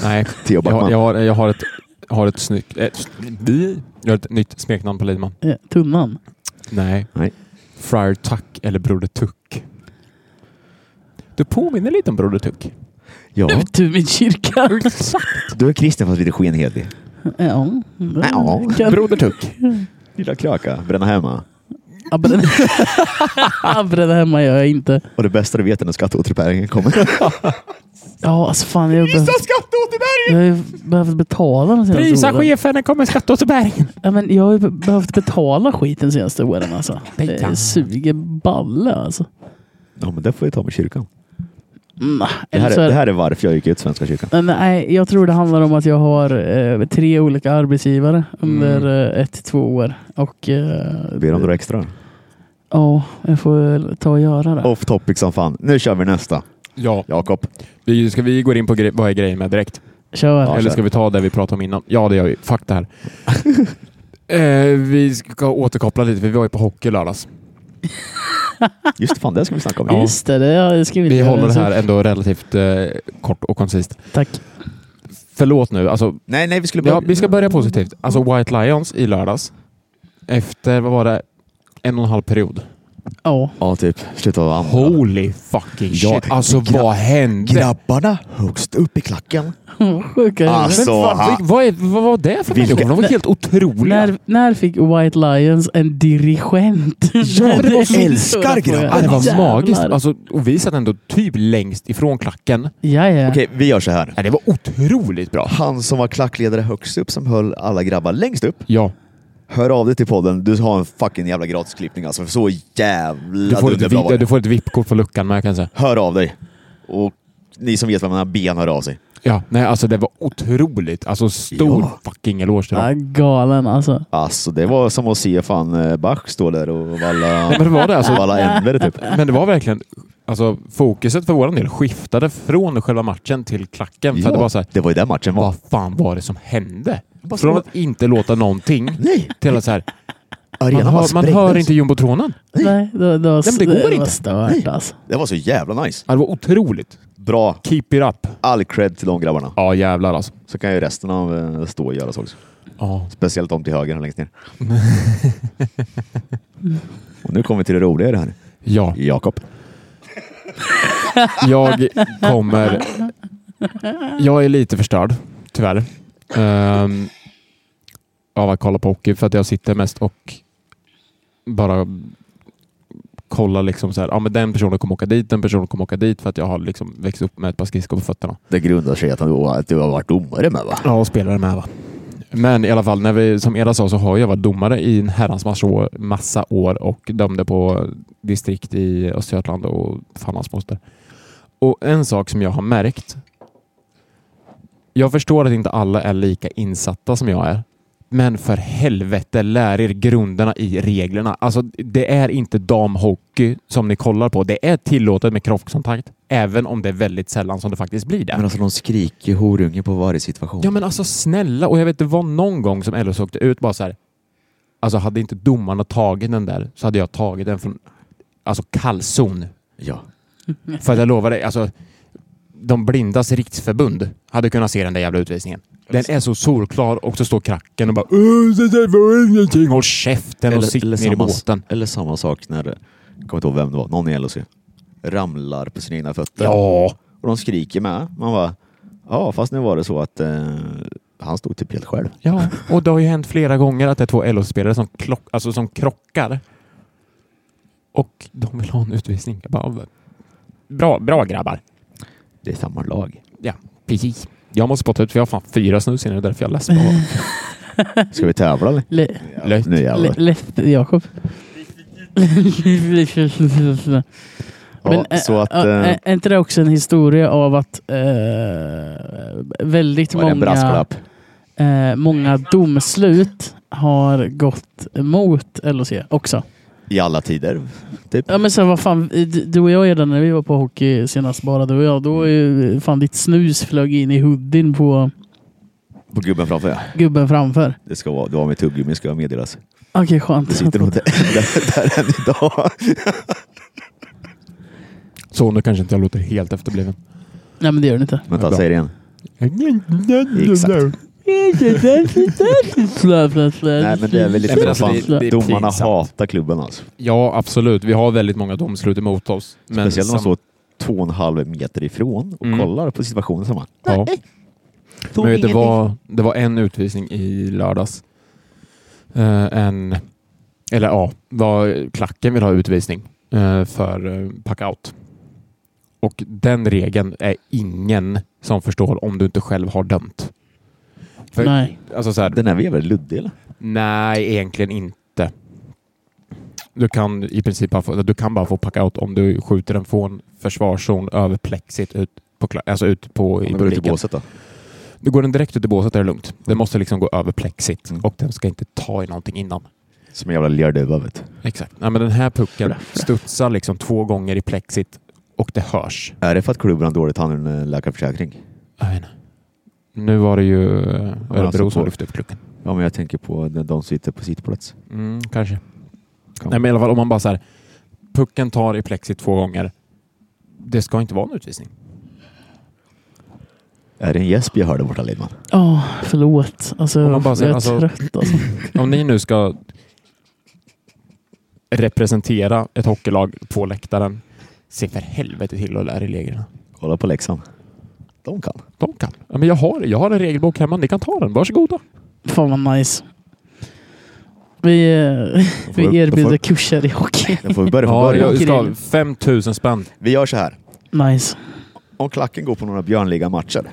Nej, Theo jag, har- Backman. jag, har, jag har ett... Har ett snyggt... eh, vi- jag har ett nytt smeknamn på Lidman. Eh, tunnan. Nej. Nej. Friar Tuck eller Broder Tuck. Du påminner lite om Broder Tuck. Ja, Ut ur min kyrka. du är kristen fast lite skenhelig. ja. Ja. Kan- Broder Tuck. Lilla kröka, bränna hemma. Abren. Abren hemma gör jag inte. Och det bästa du vet är när skatteåterbäringen kommer. Ja, alltså fan. Jag har behövt, skatteåterbäring! jag har ju behövt betala de senaste Prisa åren. chefen, den kommer skatteåterbäring. Ja, men jag har ju be- behövt betala skiten de senaste åren alltså. Det kan- Det suger balle alltså. Ja, men det får vi ta med kyrkan. Mm, Det här, eller så är, är- det här är varför jag gick ut Svenska kyrkan. Men Nej, jag tror det handlar om att jag har eh, tre olika arbetsgivare Mm. under eh, ett till två år. Och eh, Ber om några extra. ja, jag får väl ta och göra det. Off topic som fan. Nu kör vi nästa. Ja, Jakob. vi, ska vi gå in på gre- vad är grejen med direkt? Kör. Ja, Eller kör. ska vi ta det vi pratade om innan? Ja, det gör vi. Fuck det här. eh, vi ska återkoppla lite, för vi var ju på hockey i lördags. Just det, fan, det ska vi snacka om. Ja. Just det, det har jag skrivit. Vi ner. håller det här ändå relativt eh, kort och koncist. Tack. Förlåt nu, alltså, Nej, nej, vi skulle ja, börja. vi ska börja positivt. Alltså White Lions i lördags. Efter, vad var det, en och en halv period. Ja. Ja, typ. Sluta vara andra. Holy fucking shit. Ja, alltså gra- vad hände? Grabbarna högst upp i klacken. Sjuka Ah, huvuden. Men Så fan, ha- vil- vad, är, vad var det för Vilka- människor? De var helt otroliga. När, när fick White Lions en dirigent? Ja, Det är min älskar stora fråga. grabbar. Ja, Ah, det var Jävlar. magiskt. Alltså, och vi satt ändå typ längst ifrån klacken. Ja, ja. Okej, vi gör så här. Ja, det var otroligt bra. Han som var klackledare högst upp som höll alla grabbar längst upp. Ja, Hör av dig till podden. Du har en fucking jävla gratisklippning alltså. För så jävla du får, ett, dunderbra var det. vi- du får ett VIP-kort på luckan med kan jag säga. Hör av dig. Och ni som vet vem han är, ben hör av sig. Ja, nej alltså det var otroligt. Alltså stor Ja. fucking eloge till dem. Ja, galen alltså. Alltså det var som att se fan eh, Bach stå där och valla, Men det var det alltså. valla änder typ. Men det var verkligen, alltså fokuset för våran del skiftade från själva matchen till klacken. För Ja, det var så här, det var ju den matchen var. vad fan var det som hände? Bara Från så- att inte låta någonting Nej! till att så här, man Arenan bara hör, man sprängdes. hör inte jumbotronen. Nej, det, det, var, men det går var inte. stört alltså. Det var så jävla nice. Ja, Det var otroligt. Bra. Keep it up. All cred till de grabbarna. Ja jävlar alltså. Så kan ju resten av eh, stå och göras också. Ja. Speciellt de till höger här längst ner. och nu kommer vi till det roliga i det här. Ja, Jakob. jag kommer... Jag är lite förstörd, tyvärr. Um, av att kolla på hockey för att jag sitter mest och bara kollar liksom så här. Ja, men den personen kommer åka dit, den personen kommer åka dit för att jag har liksom växt upp med ett par skridskor på fötterna. Det grundar sig i att du, att du har varit domare med va? Ja, och spelare med va. Men i alla fall, när vi, som Eda sa så har jag varit domare i en herrans massa år, massa år och dömde på distrikt i Östergötland och fan hans moster. Och en sak som jag har märkt. Jag förstår att inte alla är lika insatta som jag är. Men för helvete, lär er grunderna i reglerna. Alltså, det är inte damhockey som ni kollar på. Det är tillåtet med kroppskontakt, även om det är väldigt sällan som det faktiskt blir det. Men alltså de skriker horunge på varje situation. Ja men alltså snälla, och jag vet det var någon gång som Ellos åkte ut bara så här. Alltså hade inte domarna tagit den där så hade jag tagit den från alltså kallzon. Ja. För att jag lovar dig, alltså de blindas riksförbund hade kunnat se den där jävla utvisningen. Den är så solklar och så står kracken och bara "Åh, det där var ingenting. Håll käften och sitt ner i båten. eller samma sak när, jag kommer inte ihåg vem det var, någon i LHC ramlar på sina egna fötter. Ja, Och de skriker med. Man bara, ja fast nu var det så att eh, han stod typ helt själv. ja, och det har ju hänt flera gånger att det är två LO-spelare som, klock, alltså, som krockar. Och de vill ha en utvisning. Jag bara, bra, bra grabbar. Det är samma lag. Precis. Jag måste spotta ut för jag har fan fyra snus innan det är därför jag läspar. Ska vi tävla eller? Le, Lätt. Nu le, jävlar. lätt, Jakob. Men ja, så att, ä- ä- eh, är inte det också en historia av att eh, väldigt var det en många, brasklapp? eh, många domslut har gått emot LHC också? I alla tider. Ja men sen vad fan, d- du och jag redan när vi var på hockey senast bara du och jag, då är ju fan ditt snus flög in i hoodien på På gubben framför. ja. gubben framför. Det ska vara, det var med tuggummi ska jag meddelas. Okej skönt. Det sitter nog där, där, där än idag. Så nu kanske inte jag låter helt efterbliven. Nej men det gör den inte. Vänta, säg det igen. Exakt. Nej men det är väl lite Nej, men så. alltså, fan, det är- det är domarna pinsamt. hatar klubben alltså. Ja, absolut. Vi har väldigt många domslut emot oss. Men Speciellt när de sam- står två och en halv meter ifrån och Mm. kollar på situationen. Som man, Ja. Tog Men vet du, det, ingenting. var, det var en utvisning i lördags. Eh, en, eller ja, var, klacken vill ha utvisning eh, för uh, packout. Och den regeln är ingen som förstår om du inte själv har dömt. För, Nej. Alltså så här, Den här var jävligt luddig eller? Nej, egentligen inte. Du kan i princip bara få, du kan bara få packa out om du skjuter den från försvarszon över plexit ut på, kla- alltså ut på i Den går ut i publiken. båset då. Du går den direkt ut i båset är det lugnt. Den måste liksom gå över plexit Mm. och den ska inte ta i någonting innan. Som en jävla lerdöva vet du. Exakt. Nej, men den här pucken studsar liksom två gånger i plexit och det hörs. Är det för att klubben har dålig tandläkarförsäkring? Jag vet inte. Nu var det ju eh, Örebro alltså som på- lyfte upp klucken. Ja men jag tänker på när de sitter på sittplats. Mm, kanske. Kan- Nej, men i alla fall om man bara så här. Pucken tar i plexit två gånger. Det ska inte vara en utvisning. Är det en gäsp jag hör där borta Lidman? Ja, förlåt. Alltså, Om man bara säger, jag är alltså- trött alltså. Om ni nu ska representera ett hockeylag på läktaren. Se för helvete till att lära dig reglerna. Kolla på läxan. De kan. De kan. Ja, men jag, har, jag har en regelbok hemma. Ni kan ta den. Varsågoda. Fan vad nice. Vi, eh, Då får vi då erbjuder får- kurser i hockey. Då får vi börja från Ja, början. jag ska Grill. 5000 spänn. Vi gör så här. Nice. Om klacken går på några Björnliga-matcher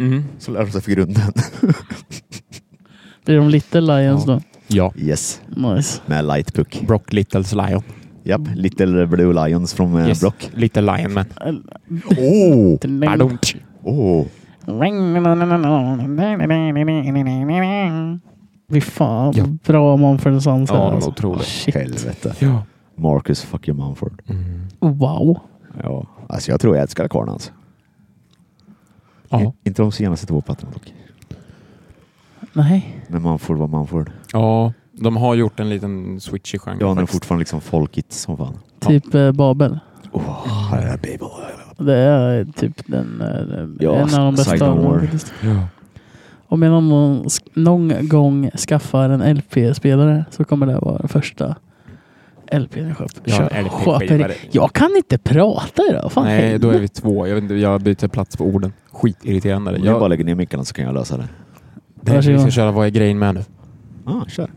Mm. så lär de sig för grunden. Blir de Little Lions Ja. då? Ja. Yes, Nice. med light puck. Brock Littles Lion. Japp, Little Blue Lions från eh, Yes. Brock. Oh! Little Lion Man. Åh! Pardon. Åh! Fy fan, Ja. bra Mumford Sons Ja, här. de är alltså. otroliga. Shit. Helvete. Ja. Marcus fucking Mumford. Wow. Ja. Alltså jag tror jag älskar karln alltså. Ja. I- Inte de senaste två plattorna dock. Nej. Men Mumford var Mumford. ja. De har gjort en liten switch i genren. Ja, han är faktiskt. fortfarande liksom folkigt som fan. Typ eh, Babel. Åh, här är Babel. Det är typ den, eh, Ja, en av Side de bästa. No av dem More. faktiskt. Ja. Om jag någon, någon gång skaffar en LP-spelare så kommer det vara den första LPn jag köper. Ja, Kör- LP-skivare. köper. Jag kan inte prata idag. Fan, Nej, då är helvete. vi två. Jag, vet inte, jag byter plats på orden. Skitirriterande. Om jag bara Jag, lägger ner mickarna så kan jag lösa det. det vi ska Varsågod. köra Vad är grejen med nu? Ah, kör.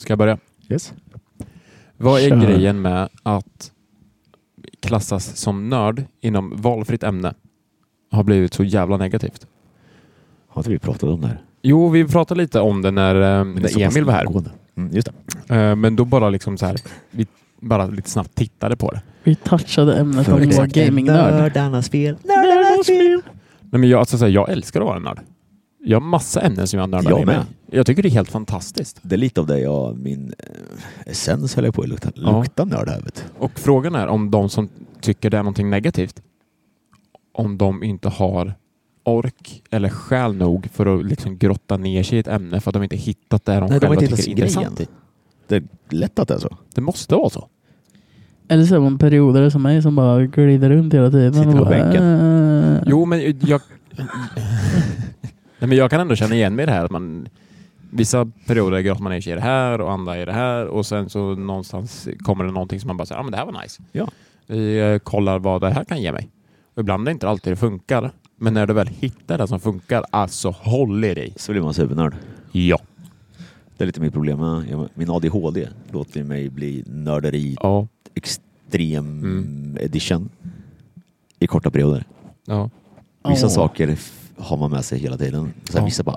Ska jag börja? Yes. Vad är Kör. grejen med att klassas som nörd inom valfritt ämne har blivit så jävla negativt? Har inte vi pratat om det här? Jo, vi pratade lite om det när, eh, när Emil var här. Mm, just det. Eh, Men då bara liksom så här, vi bara lite snabbt tittade på det. Vi touchade ämnet om att vara gamingnörd. Nördarnas spel. Nej, men jag, alltså, så här, jag älskar att vara en nörd. Jag har massa ämnen som jag nördar Jag in med. mig i. Jag tycker det är helt fantastiskt. Det är lite av det jag, min eh, essens höll jag på att lukta, Ja. lukta nörd här vet Och frågan är om de som tycker det är någonting negativt, om de inte har ork eller själ nog för att liksom grotta ner sig i ett ämne för att de inte hittat det de Nej, de har själva inte hittat tycker är sin intressant. grej I. än. Det är lätt att det är så. Det måste vara så. Eller så är man perioder som mig som bara glider runt hela tiden. Sitter på och bara, bänken. "Eh." Jo, men jag... Nej, men jag kan ändå känna igen mig i det här. Att man, vissa perioder grottar man ner sig i det här och andra i det här och sen så någonstans kommer det någonting som man bara säger, ja ah, men det här var nice. Ja. Vi eh, kollar vad det här kan ge mig. Och ibland är det inte alltid det funkar. Men när du väl hittar det som funkar, alltså håll i dig. Så blir man supernörd. Ja. Det är lite mitt problem. med- jag- Min ADHD låter mig bli nörderi Ja. extrem Mm. edition i korta perioder. ja. Vissa Åh. saker f- har man med sig hela tiden. Sen Ja. vissa bara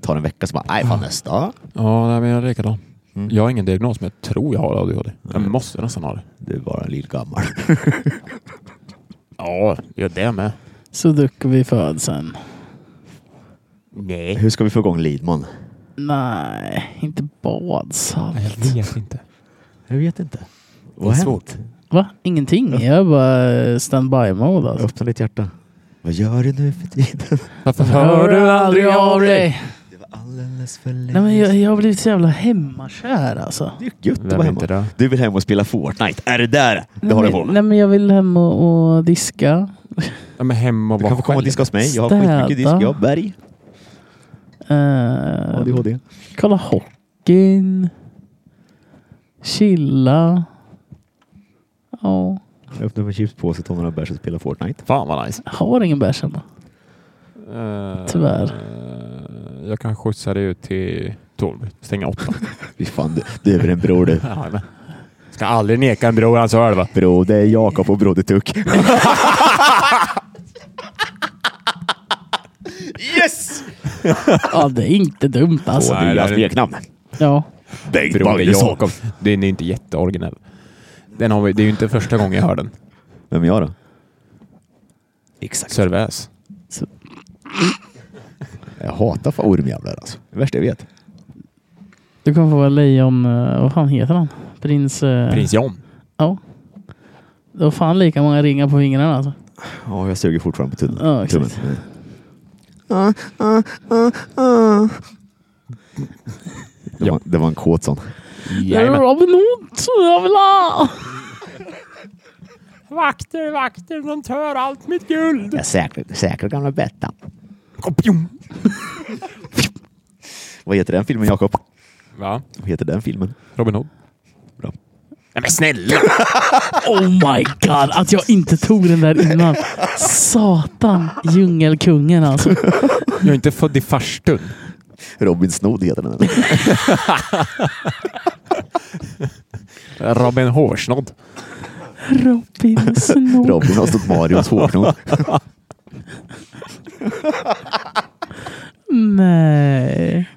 tar en vecka så bara, nej fan nästa. Ja, nej, men jag är likadan. Mm. Jag har ingen diagnos, men jag tror jag har ADHD. Jag Mm. måste nästan ha det. Du är bara en liten gammal. Ja, jag det med. Så duckar vi födseln. Nej. Hur ska vi få igång Lidman? Nej, inte badsalt. Jag vet inte. Jag vet inte. Det är Vad har svårt. hänt? Va? Ingenting. Jag är bara standby-mode alltså. Öppna ditt hjärta. Vad gör du nu för tiden? Varför hör du aldrig av dig? Det var alldeles för länge Nej, men jag, jag har blivit så jävla hemmakär alltså. Det är ju gött att vara hemma. det? Du vill hem och spela Fortnite. Är det där? Det Nej, har du men- på med. Nej men jag vill hem och, och diska. Ja, men hem och Du vara kan få komma och själv. diska hos mig. Jag har Städa. skitmycket disk. Jag har berg. Eh, ADHD. kolla hockeyn. Chilla. Ja. Jag öppnar en chipspåse, tar några bärs och spelar Fortnite. Fan vad nice. Jag har ingen bärs hemma. Eh, Tyvärr. eh, jag kan skjutsa dig ut till Torby. Stänga åtta. Fy fan, du, du är väl en bror du. Jajamän. Ska aldrig neka en bror hans öl va? Bro, det är Jakob och Broder Tuck. yes! Ja, det är inte dumt alltså. Så det är det jag är det. smeknamn. Ja. Bengt Broder Magnusson. Jakob. Den är inte jätteoriginell. Den har vi, det är ju inte första gången jag hör den. Vem är jag då? Exakt. Serväs. Jag hatar fan ormjävlar alltså. Det värsta jag vet. Du kommer få vara lejon... eh, Vad fan heter han? Prins... eh, Prins John. Ja. Det var fan lika många ringar på fingrarna alltså. Ja, jag suger fortfarande på tunnan. Ja, exakt. Tummen. Mm. Det, var, det var en kåt sån. Jajamän. Robin Hood, jävla! Vakter, vakter, de tör allt mitt guld. Jag säkrar, säkrar gamla Bettan. Vad heter den filmen Jakob? Va? Vad heter den filmen? Robin Hood. Bra. Nej, men snälla! Oh my god, att jag inte tog den där innan. Satan, djungelkungen alltså. Jag är inte född i farstun. Robin Snodd heter den. Robin Hårsnodd. Robin Snodd. Robin har stått Marios hårsnodd. Nej.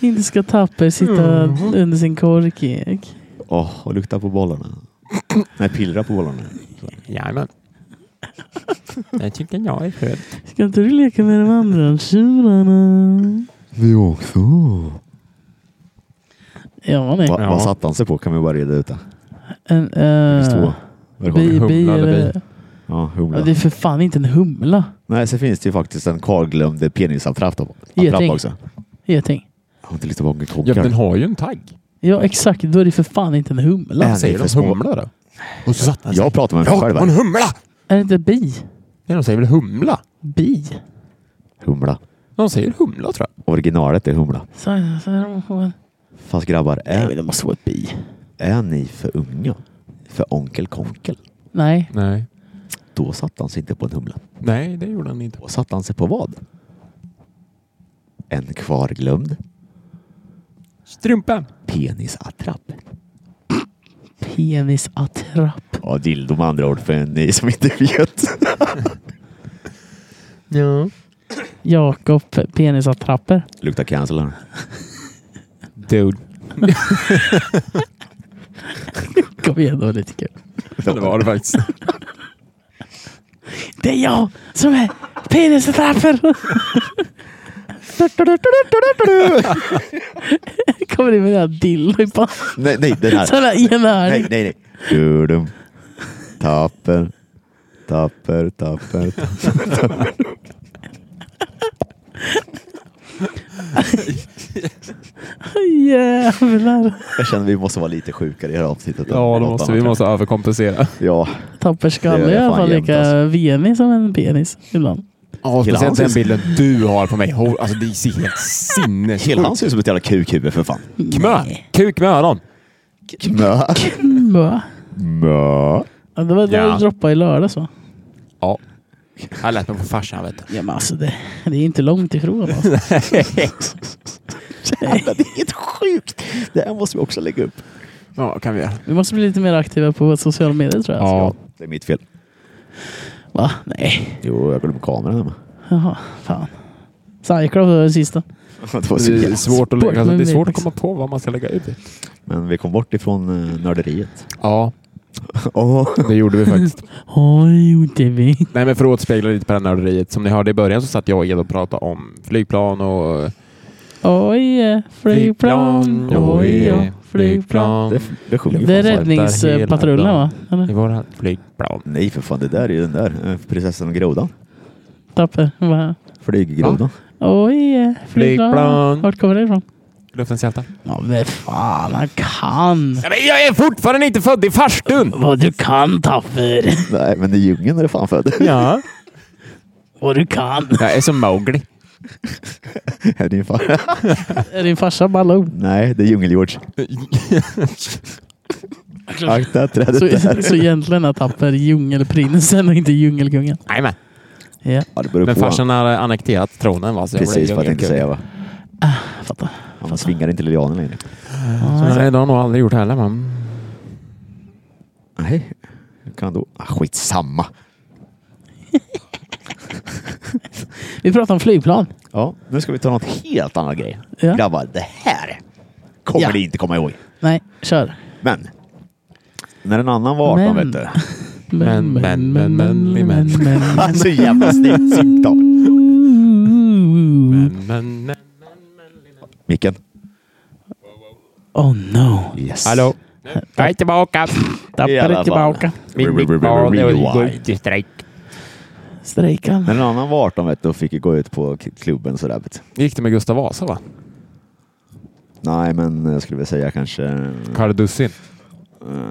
Inte ska Tapper sitta under sin korkek. Åh, och lukta på bollarna. Nej, pillra på bollarna. Jajamän. Jag tycker jag är född. Ska inte du leka med de andra tjurarna? Vi också. Ja, Eh, nej. Va, Ja. Vad satte han sig på kan vi bara reda ut det. En, Det finns två uh, bi, versioner. bi, humla eller eller, Ja, ja, humla. det är för fan inte en humla. Nej, så finns det ju faktiskt en kvarglömd penisattrapp då- Geting. attrapp också. Geting. Jag har inte lyssnat på många Ja, den kockar. har ju en tagg. Ja, exakt. Då är det för fan inte en humla. Äh. Vad det är säger för de? små. Humla då? Och så satt Jag pratar med mig själv här. humla! Är det inte bi? Nej, de säger väl humla? Bi? Humla. De säger humla tror jag. Originalet är humla. Så, så är de på en... Fast grabbar, Nej, men är, det måste vara ett bi. är ni för unga för onkel konkel? Nej. Nej. Då satte han sig inte på en humla. Nej, det gjorde han inte. Då satte han sig på vad? En kvarglömd Strumpa. penisattrapp. Penisattrapp. Ja, dildo med andra ord för ni som inte vet. Ja. Jakob penisattrapper. Luktar cancel här. Dude. Kom igen då, lite kul. Det var det faktiskt. Det är jag som är penisattrapper! Kommer in med den här dildo i pannan. Nej, nej, den här. Så där ena här. Nej, nej, nej. Dudum. Tapper. Tapper, tapper, tapper. Jävlar. Jag känner vi måste vara lite sjukare i det här avsnittet. Ja, Än det något måste, annat. vi måste överkompensera. Ja, Tapper Det skalle är är i alla fan fall jämnt, lika alltså. venig som en penis ibland. Ja, Hela speciellt den hans- bilden du har på mig. Ho- Alltså det ser helt sinnessjukt hela han ser ut som ett jävla kukhuvud för fan. Kmö. Kuk med öron. Mö. Mö. Mö. Ja, det var det Ja. du droppade i lördags va? Ja. Jag lät mig på farsan vet du. Ja men alltså det, det är inte långt ifrån alltså. Jävlar, det är helt sjukt. Det här måste vi också lägga upp. Ja, kan vi göra. Vi måste bli lite mer aktiva på sociala medier tror jag. Ja. Det är mitt fel. Va? Nej. Jo, jag glömde kameran hemma. Jaha, fan. Cyclops var den sista. Det var så Det är jävla svårt att, lägga, Bort alltså, med det mig, är svårt att liksom. komma på vad man ska lägga ut. Men vi kom bort ifrån eh, nörderiet. Ja, Oh. det gjorde vi faktiskt. Oj, gjorde vi. Nej, men för att återspegla lite på det här nörderiet. Som ni hörde i början så satt jag och Ed och pratade om flygplan och... eh, Oj, eh, flygplan. Oj, ja, flygplan. Det, det sjunger vi Det är fan för. räddningspatrullen va? I Eller? våra flygplan. Nej, för fan. Det där är ju den där. eh, Prinsessan och grodan. Tapper. Va? Flyggrodan. Oj, eh, Flygplan. flygplan. Vart kommer det ifrån? Luftens hjältar. Ja, men fan, han kan. Ja, men jag är fortfarande inte född i farstun! Vad du kan Tapper. Nej, men i djungeln är det fan född. Ja. Vad du kan. Jag är som Mowgli. Är din fan? Är din farsa Baloo? Nej, det är djungel-George. Akta trädet Så, där. så egentligen är Tapper djungelprinsen och inte djungelkungen. Jajamän. Ja, Ja, det beror Men på. farsan har annekterat tronen va? Så jag Precis blev vad jag tänkte djungelkung. säga. Va? jag fattar. Han svingar inte lianen längre. Så nej, det har han nog aldrig gjort heller man. Nej, hur kan då? Ah, skitsamma. Vi pratar om flygplan. Ja, nu ska vi ta något helt annat grej. Ja. Grabbar, det här kommer Ja. ni inte komma ihåg. Nej, kör. Men, när en annan var 18 Men. vet du. Men, men, men, men, men. Han är så jävla snyggt symptom. Mm. Ooh. Men, men, men. Micken. Oh no. Yes. Hallå? Jag är tillbaka! I alla Tapper är fall. tillbaka. Mitt mitt barn är går ut i strejk. Strejkan. När en annan var 18 vet du, och fick ju gå ut på k- klubben sådär. Vet du. Gick det med Gustav Vasa va? Mm. Nej, men jag skulle väl säga kanske... eh, Karl Dussin.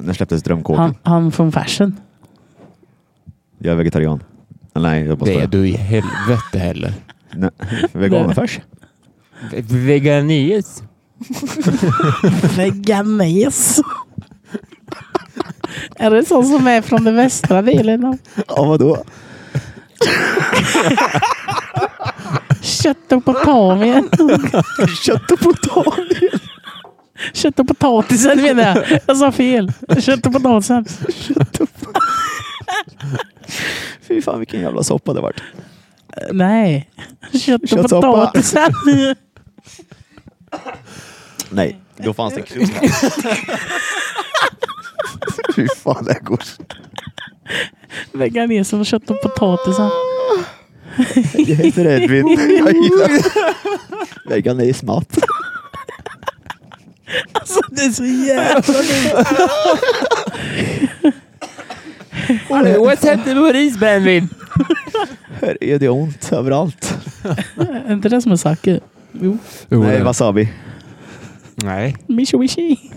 När släpptes Drömkåken? Han, han från Fashion. Jag är vegetarian. Nej, jag bara Det är skojar. du i helvete heller. Nej, Veganfärs? Veganius. Veganes. Är det sån som är från den västra delen av Ja, vadå? kött och potamien? Kött och potatis. Kött och potatisen menar jag. Jag sa fel. Kött och potatisen. Fy fan vilken jävla soppa det vart. Nej. Kött och Köttsoppa. potatisen. Nej, då fanns det en krona. Fy fan, det här går. Lägga ner som kött och potatisen. Jag heter Edvin. Jag gillar veganismat. Alltså det är så jävla... What's happening with this bandwin? Här är det ont överallt. Är inte det som är sake? Jo. Nej, wasabi. Nej. Mishi wishi.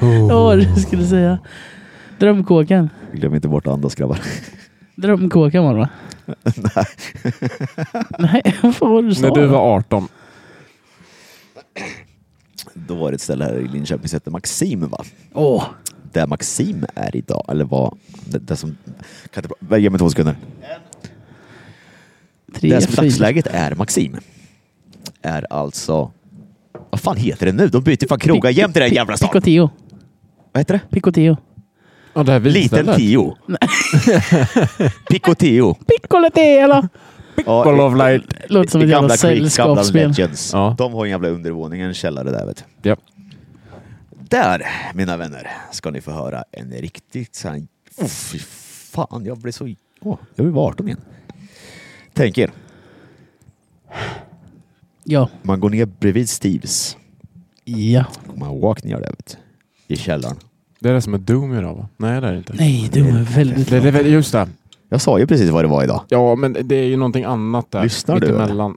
Ja, vad du skulle säga. Drömkåkan. Glöm inte bort att andas grabbar. Drömkåkan var det va? Nej. Nej, vad var det du sa? När du var 18. Då var det ett ställe här i Linköping som hette Maxim va? Åh. Där Maxim är idag, eller vad? Det, det som... Kan inte... pra- Ge mig två sekunder. Tre, det som i fyra. dagsläget är Maxim är alltså... Vad fan heter det nu? De byter fan krogar jämt i den här jävla Pico staden. Tio. Vad heter det? Pico Tio. Ja, det här Liten vinstället. Tio. Picotio. Piccolo Tio! Ball of light. Låter som ett jävla sällskapsspel. Legends. Ja. De har en jävla undervåning, en källare där vet du. Ja. Där, mina vänner, ska ni få höra en riktigt så här... Oh, fy fan, jag blev så... Åh, jag blev 18 igen. Tänk er, Ja. man går ner bredvid Steves. Ja. Och man walk ner där vet du. I källaren. Det är det som är Doom idag va? Nej det är det inte. Nej, du är väldigt... Det, det är väl just det. Jag sa ju precis vad det var idag. Ja men det är ju någonting annat där. Lyssnar du, eller? Mittemellan.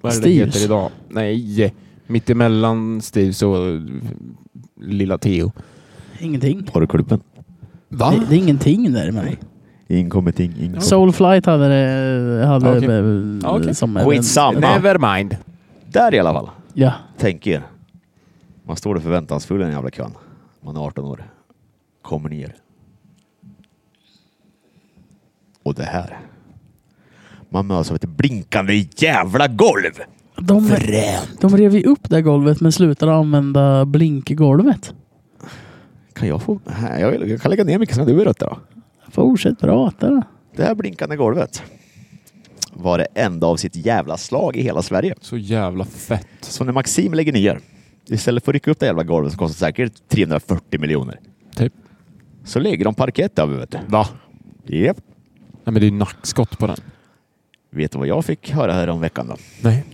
Vad är det det Steves? heter idag? Nej. Mittemellan Steves och eh, lilla Theo. Ingenting. Porrklubben. Det, det är ingenting där med Inkommeting, inkommeting. Soulflight Mm. hade det hade Ah, Okej. eh, Ja, okej. som... Skitsamma. Never mind. Där i alla fall. Ja. Tänk er. Man står där förväntansfull i den jävla kön. Man är 18 år. Kommer ner. Och det här. Man möts av ett blinkande jävla golv. De, de rev ju upp det golvet men slutade använda blinkgolvet. Kan jag få? Nej, Jag, vill, jag kan lägga ner mycket som du är rötter då. Fortsätt prata då. Det här blinkande golvet var det enda av sitt jävla slag i hela Sverige. Så jävla fett. Så när Maxim lägger ner, istället för att rycka upp det jävla golvet som kostar säkert 340 miljoner, Typ. så lägger de parkett över. Vet du. Va? Japp. Nej men det är ju nackskott på den. Vet du vad jag fick höra här om veckan då? Nej.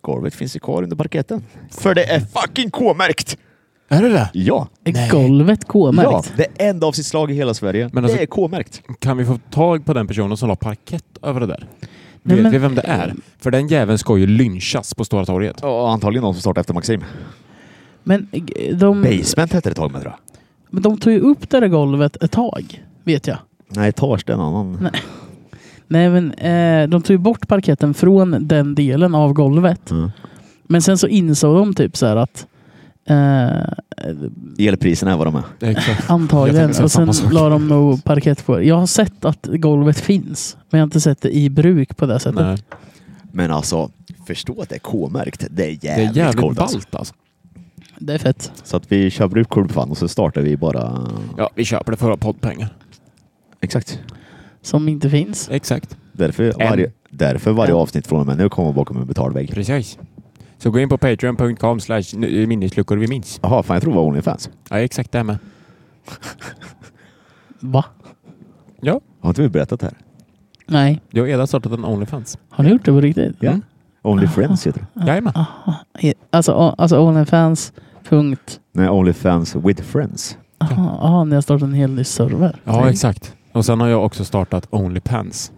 Golvet finns ju kvar under parketten. För det är fucking K-märkt! Är det det? Ja. Är Nej. golvet ja! K-märkt? Det enda av sitt slag i hela Sverige. Men alltså- det är K-märkt. Kan vi få tag på den personen som la parkett över det där? Nej, Vet men- vi vem det är? För den jäveln ska ju lynchas på Stora torget. Ja, antagligen någon som startade efter Maxim. Men eh, de, Mm. Basement hette det ett tag med tror jag. men de tog ju upp det där golvet ett tag, vet jag. Nej, etage det är en annan. Nej. Nej men eh, de tog ju bort parketten från den delen av golvet. Mm. Men sen så insåg de typ så här att eh, Elpriserna är vad de är. Exakt. Jag Antagligen. tänkte Och säga sen samma sak. la de nog parkett på. Jag har sett att golvet finns, men jag har inte sett det i bruk på det sättet. Nej. Men alltså, förstå att det är K-märkt. Det är Det är jävligt, jävligt coolt alltså. ballt alltså. Det är fett. Så att vi köper ut korvfan och så startar vi bara... Ja, vi köper det för poddpengar. Exakt. Som inte finns. Exakt. Därför En. varje, därför varje En. avsnitt från och med nu kommer bakom en betalvägg. Precis. Så gå in på patreon.com slash nu- eh, minnesluckor vi minns. Jaha, fan jag tror det var Onlyfans. Ja, exakt det här med. Va? Ja, Har inte vi berättat det här? Nej. jag har redan startat en Onlyfans. Har ni gjort det på riktigt? Ja. Mm. Onlyfriends heter det. Jajamän. I- Alltså, o- alltså Onlyfans. Punkt. Nej, Onlyfans with friends. Aha, aha, ni har startat en hel ny server. Ja, exakt. Och sen har jag också startat Onlypants.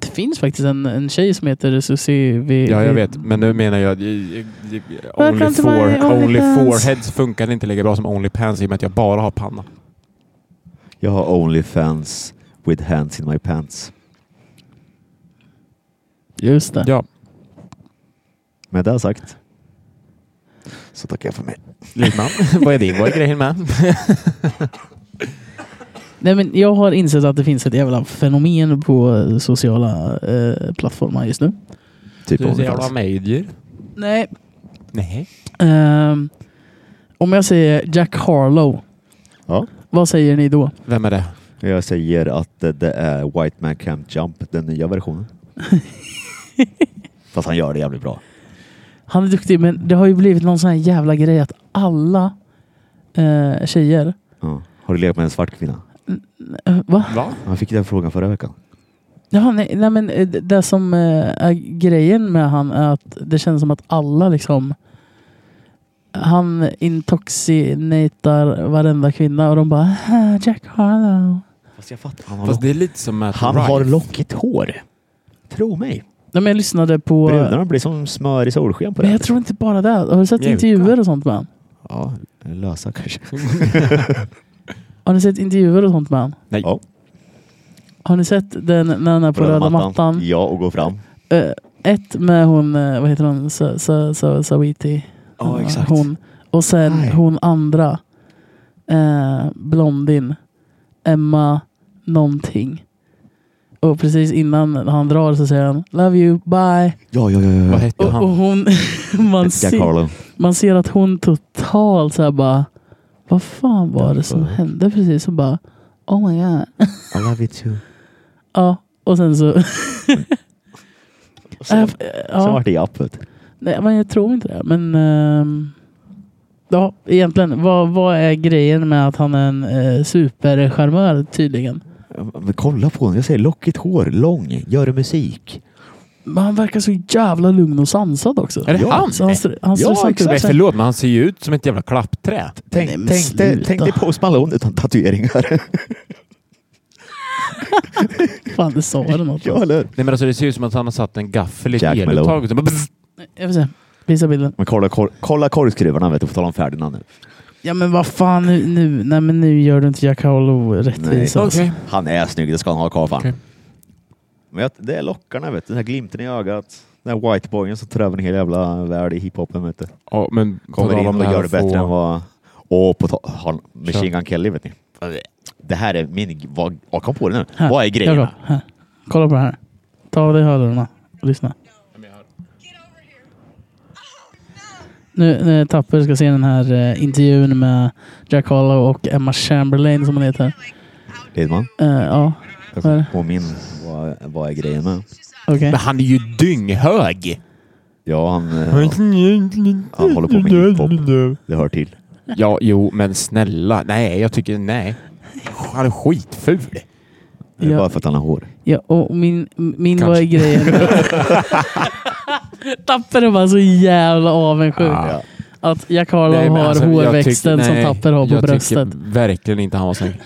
Det finns faktiskt en, en tjej som heter Susie V. Ja, jag vet. Men nu menar jag... i- i- i- Only to my four, only Onlyfans. foreheads funkar inte lika bra som Onlypants i och med att jag bara har panna. Jag har Onlyfans with hands in my pants. Just det. Ja. Med det sagt, Så tackar jag för mig. Lidman, vad är din? Vad är grejen med? Nej, men jag har insett att det finns ett jävla fenomen på eh, sociala eh, plattformar just nu. Typ Du är så jävla Onlyfans. major. Nej. Nej. Ehm, om jag säger Jack Harlow, Ja. vad säger ni då? Vem är det? Jag säger att eh, det är White Man Can't Jump, den nya versionen. Fast han gör det jävligt bra. Han är duktig, men det har ju blivit någon sån här jävla grej att alla eh, tjejer... Ja. Har du legat med en svart kvinna? Eh, va? Va? Han fick den frågan förra veckan. Ja, nej, nej, men eh, det- det som eh, är grejen med han är att det känns som att alla liksom... Han intoxinatar varenda kvinna och de bara "Ah, Jack Harlow. Fast jag fattar. Han har, Fast det är lite som Matt han Rife. har lockigt hår. Tro mig. Nej, men jag lyssnade på... Brudarna blir som smör i solsken på det. Men jag tror inte bara det. Har du sett Mjuka. intervjuer och sånt med han? Ja, lösa kanske. Har ni sett intervjuer och sånt med han? Nej. Ja. Har ni sett den när han är på röda mattan? Ja, och gå fram. Eh, ett med hon, eh, vad heter hon, Sa- Sa- Sa- Sawiti. Ja, Eh, exakt. Hon. Och sen Nej. hon andra. Eh, blondin. Emma någonting. Och precis innan han drar så säger han Love you, bye. Ja, ja, ja. Vad ja. hette Och, och han? hon, man, Jack ser, Harlow. man ser att hon totalt så här bara Vad fan var det som hände precis? Och bara Oh my god. I love you too. Ja, och sen så... Så, Äh, ja. sen vart det japp. vet du. Nej, men jag tror inte det. Men ehm, ja, egentligen, vad, vad är grejen med att han är en eh, supercharmör tydligen? Ja, Men kolla på honom. Jag säger lockigt hår, lång, gör musik. Men han verkar så jävla lugn och sansad också. Är det han? Så han, str- han Ja, stressar inte upp exakt. sig. Förlåt, men han ser ju ut som ett jävla klappträ. Tänk, Nej, men tänk, dig, sluta. tänk dig Post Malone utan tatueringar. Fan, det sa det något. ja, eller Nej, men alltså, det ser ut som att han har satt en gaffel i ett Jack Malone. eluttag. och så bara bzz. Jag får se. Visa bilden. Men kolla, kor- kolla korvskruvarna, vet du. Får tala om Ferdinand nu. Ja, men vad fan nu? nu nej, men nu gör du inte Jack Harlow rättvisa. Nej. alltså. Okej. Han är snygg, det ska han ha kvar fan. Okej. Men jag, det är lockarna, vet du. Den här glimten i ögat. Den här whiteboyen som tar över en hel jävla värld i hiphopen, vet du. Ja, men på Kommer tal in om och här gör det bättre få- än vad... Och på ta- han, Machine Kör. Gun Kelly, vet ni. Det här är min... Vad, jag kom på det nu. Här. Vad är Jakob, grejen? här. Kolla på det här. Ta av dig hörlurarna och lyssna. Nu, nu Tapper ska se den här eh, intervjun med Jack Harlow och Emma Chamberlain som hon heter. Lidman? Eh, ja, Jag Vad kom är det? på min... Vad, vad är grejen med? okej. Men han är ju dynghög! Ja, han, eh, han håller på med hiphop. Det hör till. Ja, jo, men snälla. Nej, jag tycker nej. Han är skitful. Det är Ja. bara för att han har hår. Ja, och min, min Kanske. vad är grejen? Tapper är bara så jävla avundsjuk. Ja. Att Jack Harlow Ah. Nej, men har alltså, jag hårväxten tycker- nej, som Tapper har på jag tycker bröstet. verkligen inte han var snygg.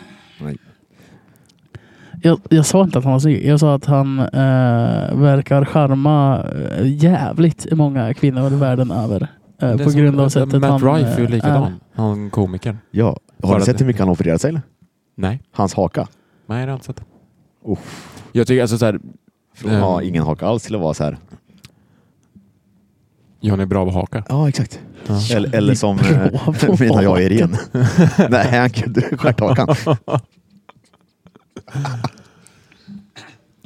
Jag, jag sa inte att han var snygg. Jag sa att han eh, verkar charma eh, jävligt många kvinnor världen över. Eh, Det är på som- grund av sättet Matt han Rife är ju eh, likadan. Han komikern. Ja. Har Bara du att- sett hur mycket han opererat sig eller? Nej, Hans haka. nej det har jag inte sett. Oh. Jag tycker alltså såhär, Från att ha Ehm. ingen haka alls till att vara så här. Johnny är bra på haka. Ja, exakt. Ja. Eller, eller som eh, Bra på menar jag hakan. är ren. Nej, han kunde stjärthakan.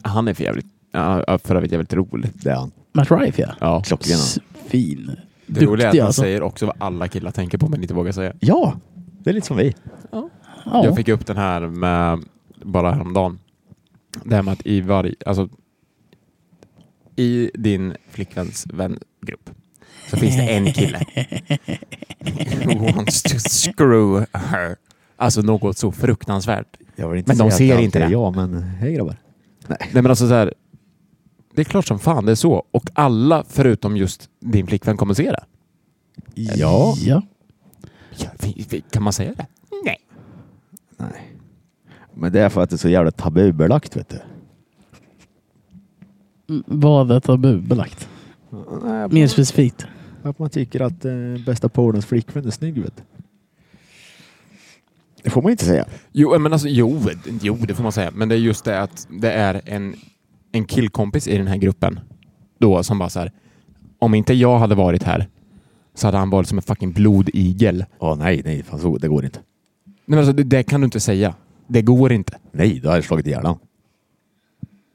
Han är för jävligt, ja, ja, för övrigt jävligt rolig. Det är han. Matt Rife ja. Ja. Klockren. han. Fin. Det roliga är att Duktig han alltså. säger också vad alla killar tänker på men inte vågar säga. Ja, det är lite som vi. Ja. Jag fick upp den här med bara häromdagen. Det här med att i varje, alltså i din flickväns vängrupp så finns det en kille who wants to screw her. Alltså något så fruktansvärt. Jag vill inte Men de säga att ser allt inte är det. Jag, men hej grabbar. Nej men alltså så här, det är klart som fan det är så. Och alla förutom just din flickvän kommer se det. Ja. ja. Ja, vi- vi- Kan man säga det? Nej. Nej. Men det är för att det är så jävla tabubelagt, vet du. Mm, Vad är tabubelagt? Mer specifikt. Att man tycker att eh, bästa polarens flickvän är snygg, vet du. Det får man inte säga. Jo, men alltså, jo, d- jo, det får man säga. Men det är just det att det är en, en killkompis i den här gruppen då som bara så här. Om inte jag hade varit här så hade han varit som en fucking blodigel. Nej, Åh nej, nej, fan, så, det går inte. men alltså, det, det kan du inte säga. Det går inte. Nej, då hade jag slagit ihjäl honom.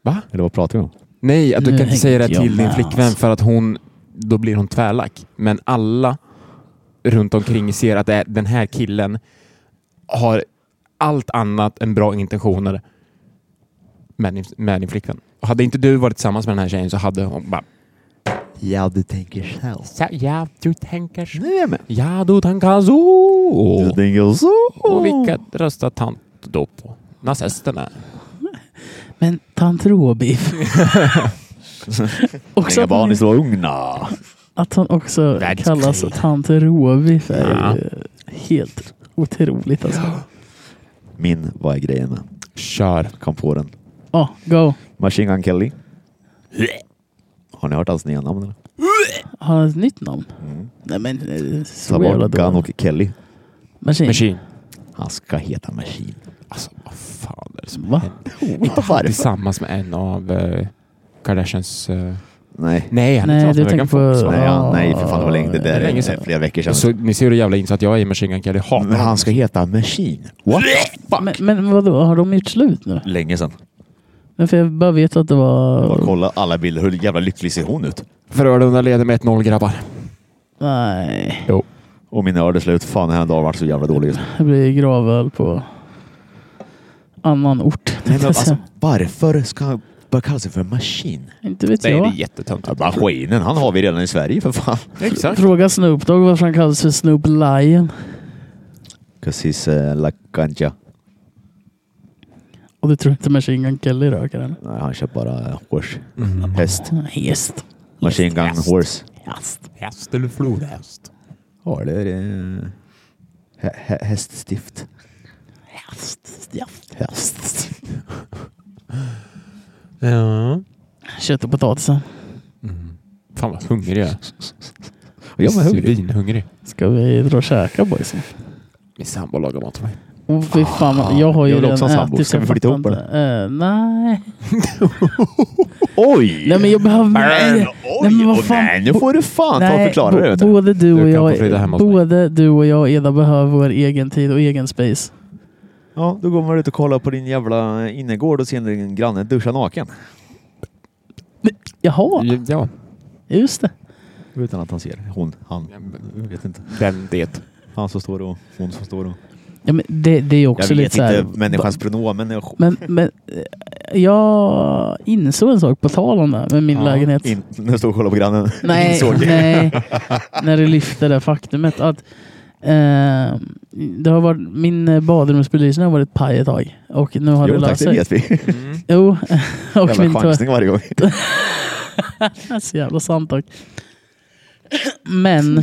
Va? Eller vad pratar vi om? Nej, att du Nu kan inte säga det hängde jag till din med, flickvän alltså. för att hon, då blir hon tvärlack. Men alla runt omkring ser att det är, den här killen har allt annat än bra intentioner med din, med din flickvän. Och hade inte du varit tillsammans med den här tjejen så hade hon bara... Ja, du tänker själv. Ja, du tänker så. Nu är jag med. Ja, du tänker så. Du tänker så. Och vilket röstar tant då på? Nazisterna. Men tant Råbiff. också Inga att, barn hon, är så ugna. att hon också Världskrig. kallas tant Råbiff är Ja. ju helt otroligt alltså. Min, vad är grejen med? Kör. Kom på den. Ja, go. Machine Gun Kelly. Har ni hört hans nya namn? Eller? Har han ett nytt namn? Mm. Nej men eh, så Ta jävla bort Gun dåligt. och Kelly. Machine. Machine. Han ska heta Machine. Alltså, vad fan är det som Va? händer? Inte varför. Tillsammans med en av eh, Kardashians... eh, Nej. nej, han är Nej, inte du tillsammans tänker med på... Megan Ah. Fox, va? Nej, ja, nej, för fan det var länge. Det där Det är länge är sedan. flera veckor sedan. Så, ni ser hur jävla insatt jag är i Machine Gun Kelly. Jag Hatar Men honom. han ska heta Machine. What the Eh, fuck? Men, men vadå, har de gjort slut nu? Länge sedan. Men för jag bara vet att det Bara var... kolla alla bilder. Hur jävla lycklig ser hon ut? För Frölunda leder med 1-0 grabbar. Nej, Och min öl är slut. Fan, den här dagen har varit så jävla dålig just nu. det blir gravöl på annan ort. Nej, men alltså, varför ska han börja kalla sig för Machine? Inte vet Nej, det är jag. jättetöntigt. Maskinen, han har vi redan i Sverige för fan. Exakt. Fråga Snoop Dogg varför han kallas för Snoop Lion. Cause he's uh, la ganja. Och du tror inte Machine Gun Kelly röker den? Nej, han kör bara eh, horse. Mm. Häst. Häst. Machine gun häst. horse. Häst. Häst eller flodhäst? Ja, det är eh, hä- hä- häststift. Häst. Häst. Ja. Kött och potatisen. Mm. Fan vad hungrig jag är. Jag var hungrig. Svinhungrig. Ska vi dra och käka boysen? Min sambo lagar mat till mig. Åh fy fan, jag har ju Jag vill redan också ha sambo. ätit. Ska så vi jag flytta fattar ihop, inte. Eh, nej. Oj! nej, men jag behöver... Burn. Nej, Oj! nej, men vad och fan. Nej, nu får du fan ta och förklara bo- det. Vet du. både du Du och kan jag, få flytta hem hos mig. både du och jag och Eda behöver vår egen tid och egen space. Ja, då går man ut och kollar på din jävla innergård och ser din granne duscha naken. Jaha, Ja. just det. Utan att han ser. Hon, han. Jag vet inte. Den det. Han som står och hon som står och... Ja, men det, det är ju Jag också vet lite så här, inte människans pronomen. Jag... Men, men eh, jag insåg en sak på tal om det här med min Ja, lägenhet. In, nu står och kollar på grannen. nej, Insåg. nej, när du lyfter det faktumet att eh, det har varit, min eh, badrumsbelysning har varit paj ett tag och nu har Jo det tack, löst det sig. vet vi. Jo, och min Jävla toalett. chansning varje gång. Så jävla sant dock. Men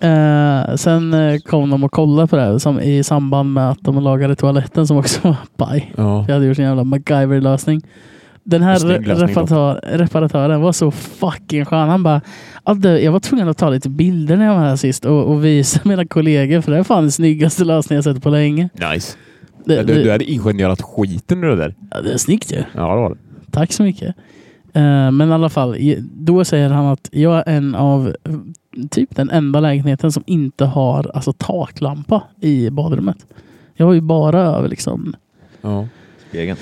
eh, sen eh, kom de och kollade på det här som, i samband med att de lagade toaletten som också var paj. Ja. Jag hade gjort en jävla MacGyver-lösning. Den här Snygg re- lösning reparatör, reparatören var så fucking skön. Han bara, "Ja, du, jag var tvungen att ta lite bilder när jag var här sist och, och visa mina kollegor för det är fan den snyggaste lösningen jag sett på länge. Nice. Det, Du, du det, hade ingenjörat skiten ur det där. ja, det är snyggt ju. Ja, det var det. Tack så mycket. Eh, men i alla fall, i- då säger han att jag är en av eh, typ den enda lägenheten som inte har alltså, taklampa i badrummet. Jag har ju bara över liksom... Ja. Egen.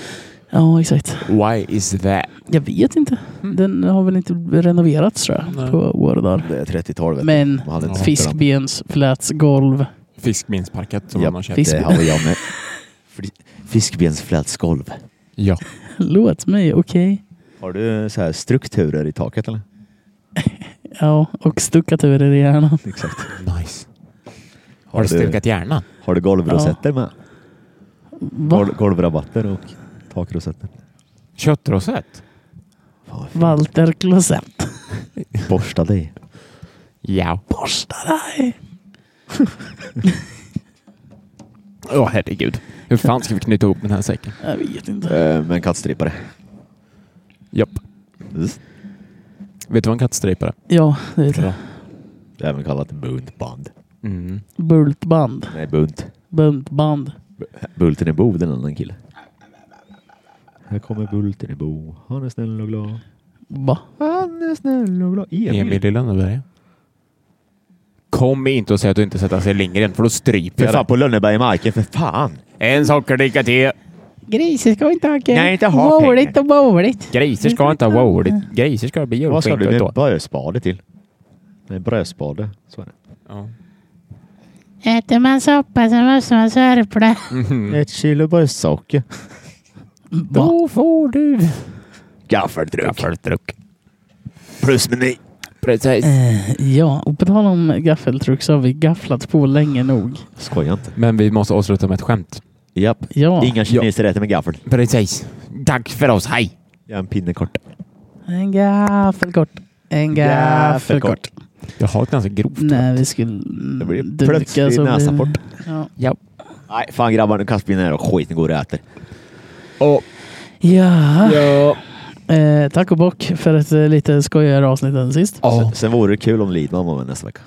Ja, exakt. Why is that? Jag vet inte. Den har väl inte renoverats tror jag Mm. Nej. på år och dagar. Det är 30-tal. vet du. Men Man hade inte Ja. fiskbensflätsgolv. Fiskbensparket som Ja, man har köpt. fisk- Det har jag med. Fri- Fiskbensflätsgolv. Ja. Låt mig, okej. Har du så här strukturer i taket eller? Ja, och stuckaturer i hjärnan. Exakt. Nice. Har Har du du- stukat hjärnan? Har du golvrosetter med? Va? Gol- Golvrabatter och takrosetter. Köttrosett? Fan, vad fint. Walter Klosett. Borsta dig. Ja. Borsta dig! Åh herregud. Hur fan ska vi knyta ihop den här säcken? Jag vet inte. Eh, Med en kattstrippare. Japp. Vet du vad en kattstrejpare är? Ja, det vet jag. Det är även kallat buntband. Mm. Bultband. Nej, bunt. Buntband. Bulten i Bo, det är en annan kille. Här kommer Bulten i Bo. Han är snäll och glad. Va? Han är snäll och glad. Emil. Emil i Lönneberga. kom inte och säg att du inte sätter sig Lindgren, för då stryper För jag fan dig. på Lönnebergsmarken, för fan! En sockerdricka till. Griser ska inte ha kul. Nej, inte ha Våligt och bowligt. Griser ska inte ha wow. Griser ska bli Vad ska julskinka du ett med år. brödspade till? Nej, brödspade. Så är det. Äter man soppa så måste man sörpla. Ett kilo brödsocker. Då får du. Gaffeltruck. Gaffeltruck. Plusmeny. Precis. Ja, och på tal om gaffeltruck så har vi gafflat på länge nog. Skoja inte. Men vi måste avsluta med ett skämt. Japp. Ja, Inga kineser äter med gaffel. Precis. Tack för oss. Hej! Jag är en pinne kort. en gaffelkort. En gaffelkort. Jag har ett ganska grovt När vi skulle Det blir dunka plötsligt så blir- näsapport. Ja. Ja. Nej, fan grabbar, nu kastar vi ner och skiten går och äter. Och, ja. ja. Eh, tack och bock för ett eh, lite skojigare avsnitt än sist. Ja. Sen, sen vore det kul om Lidman var med nästa vecka.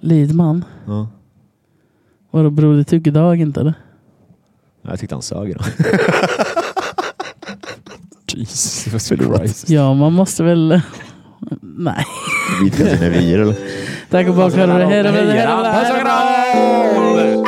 Lidman. Ja. Vadå Broder Tuggedag inte eller? Jag tyckte han sög idag. Jesus Christ. Ja, man måste väl... Nej. Vidga sina vyer eller? Tack och bock. Hej då. Hej då. Hej då. Puss och kram!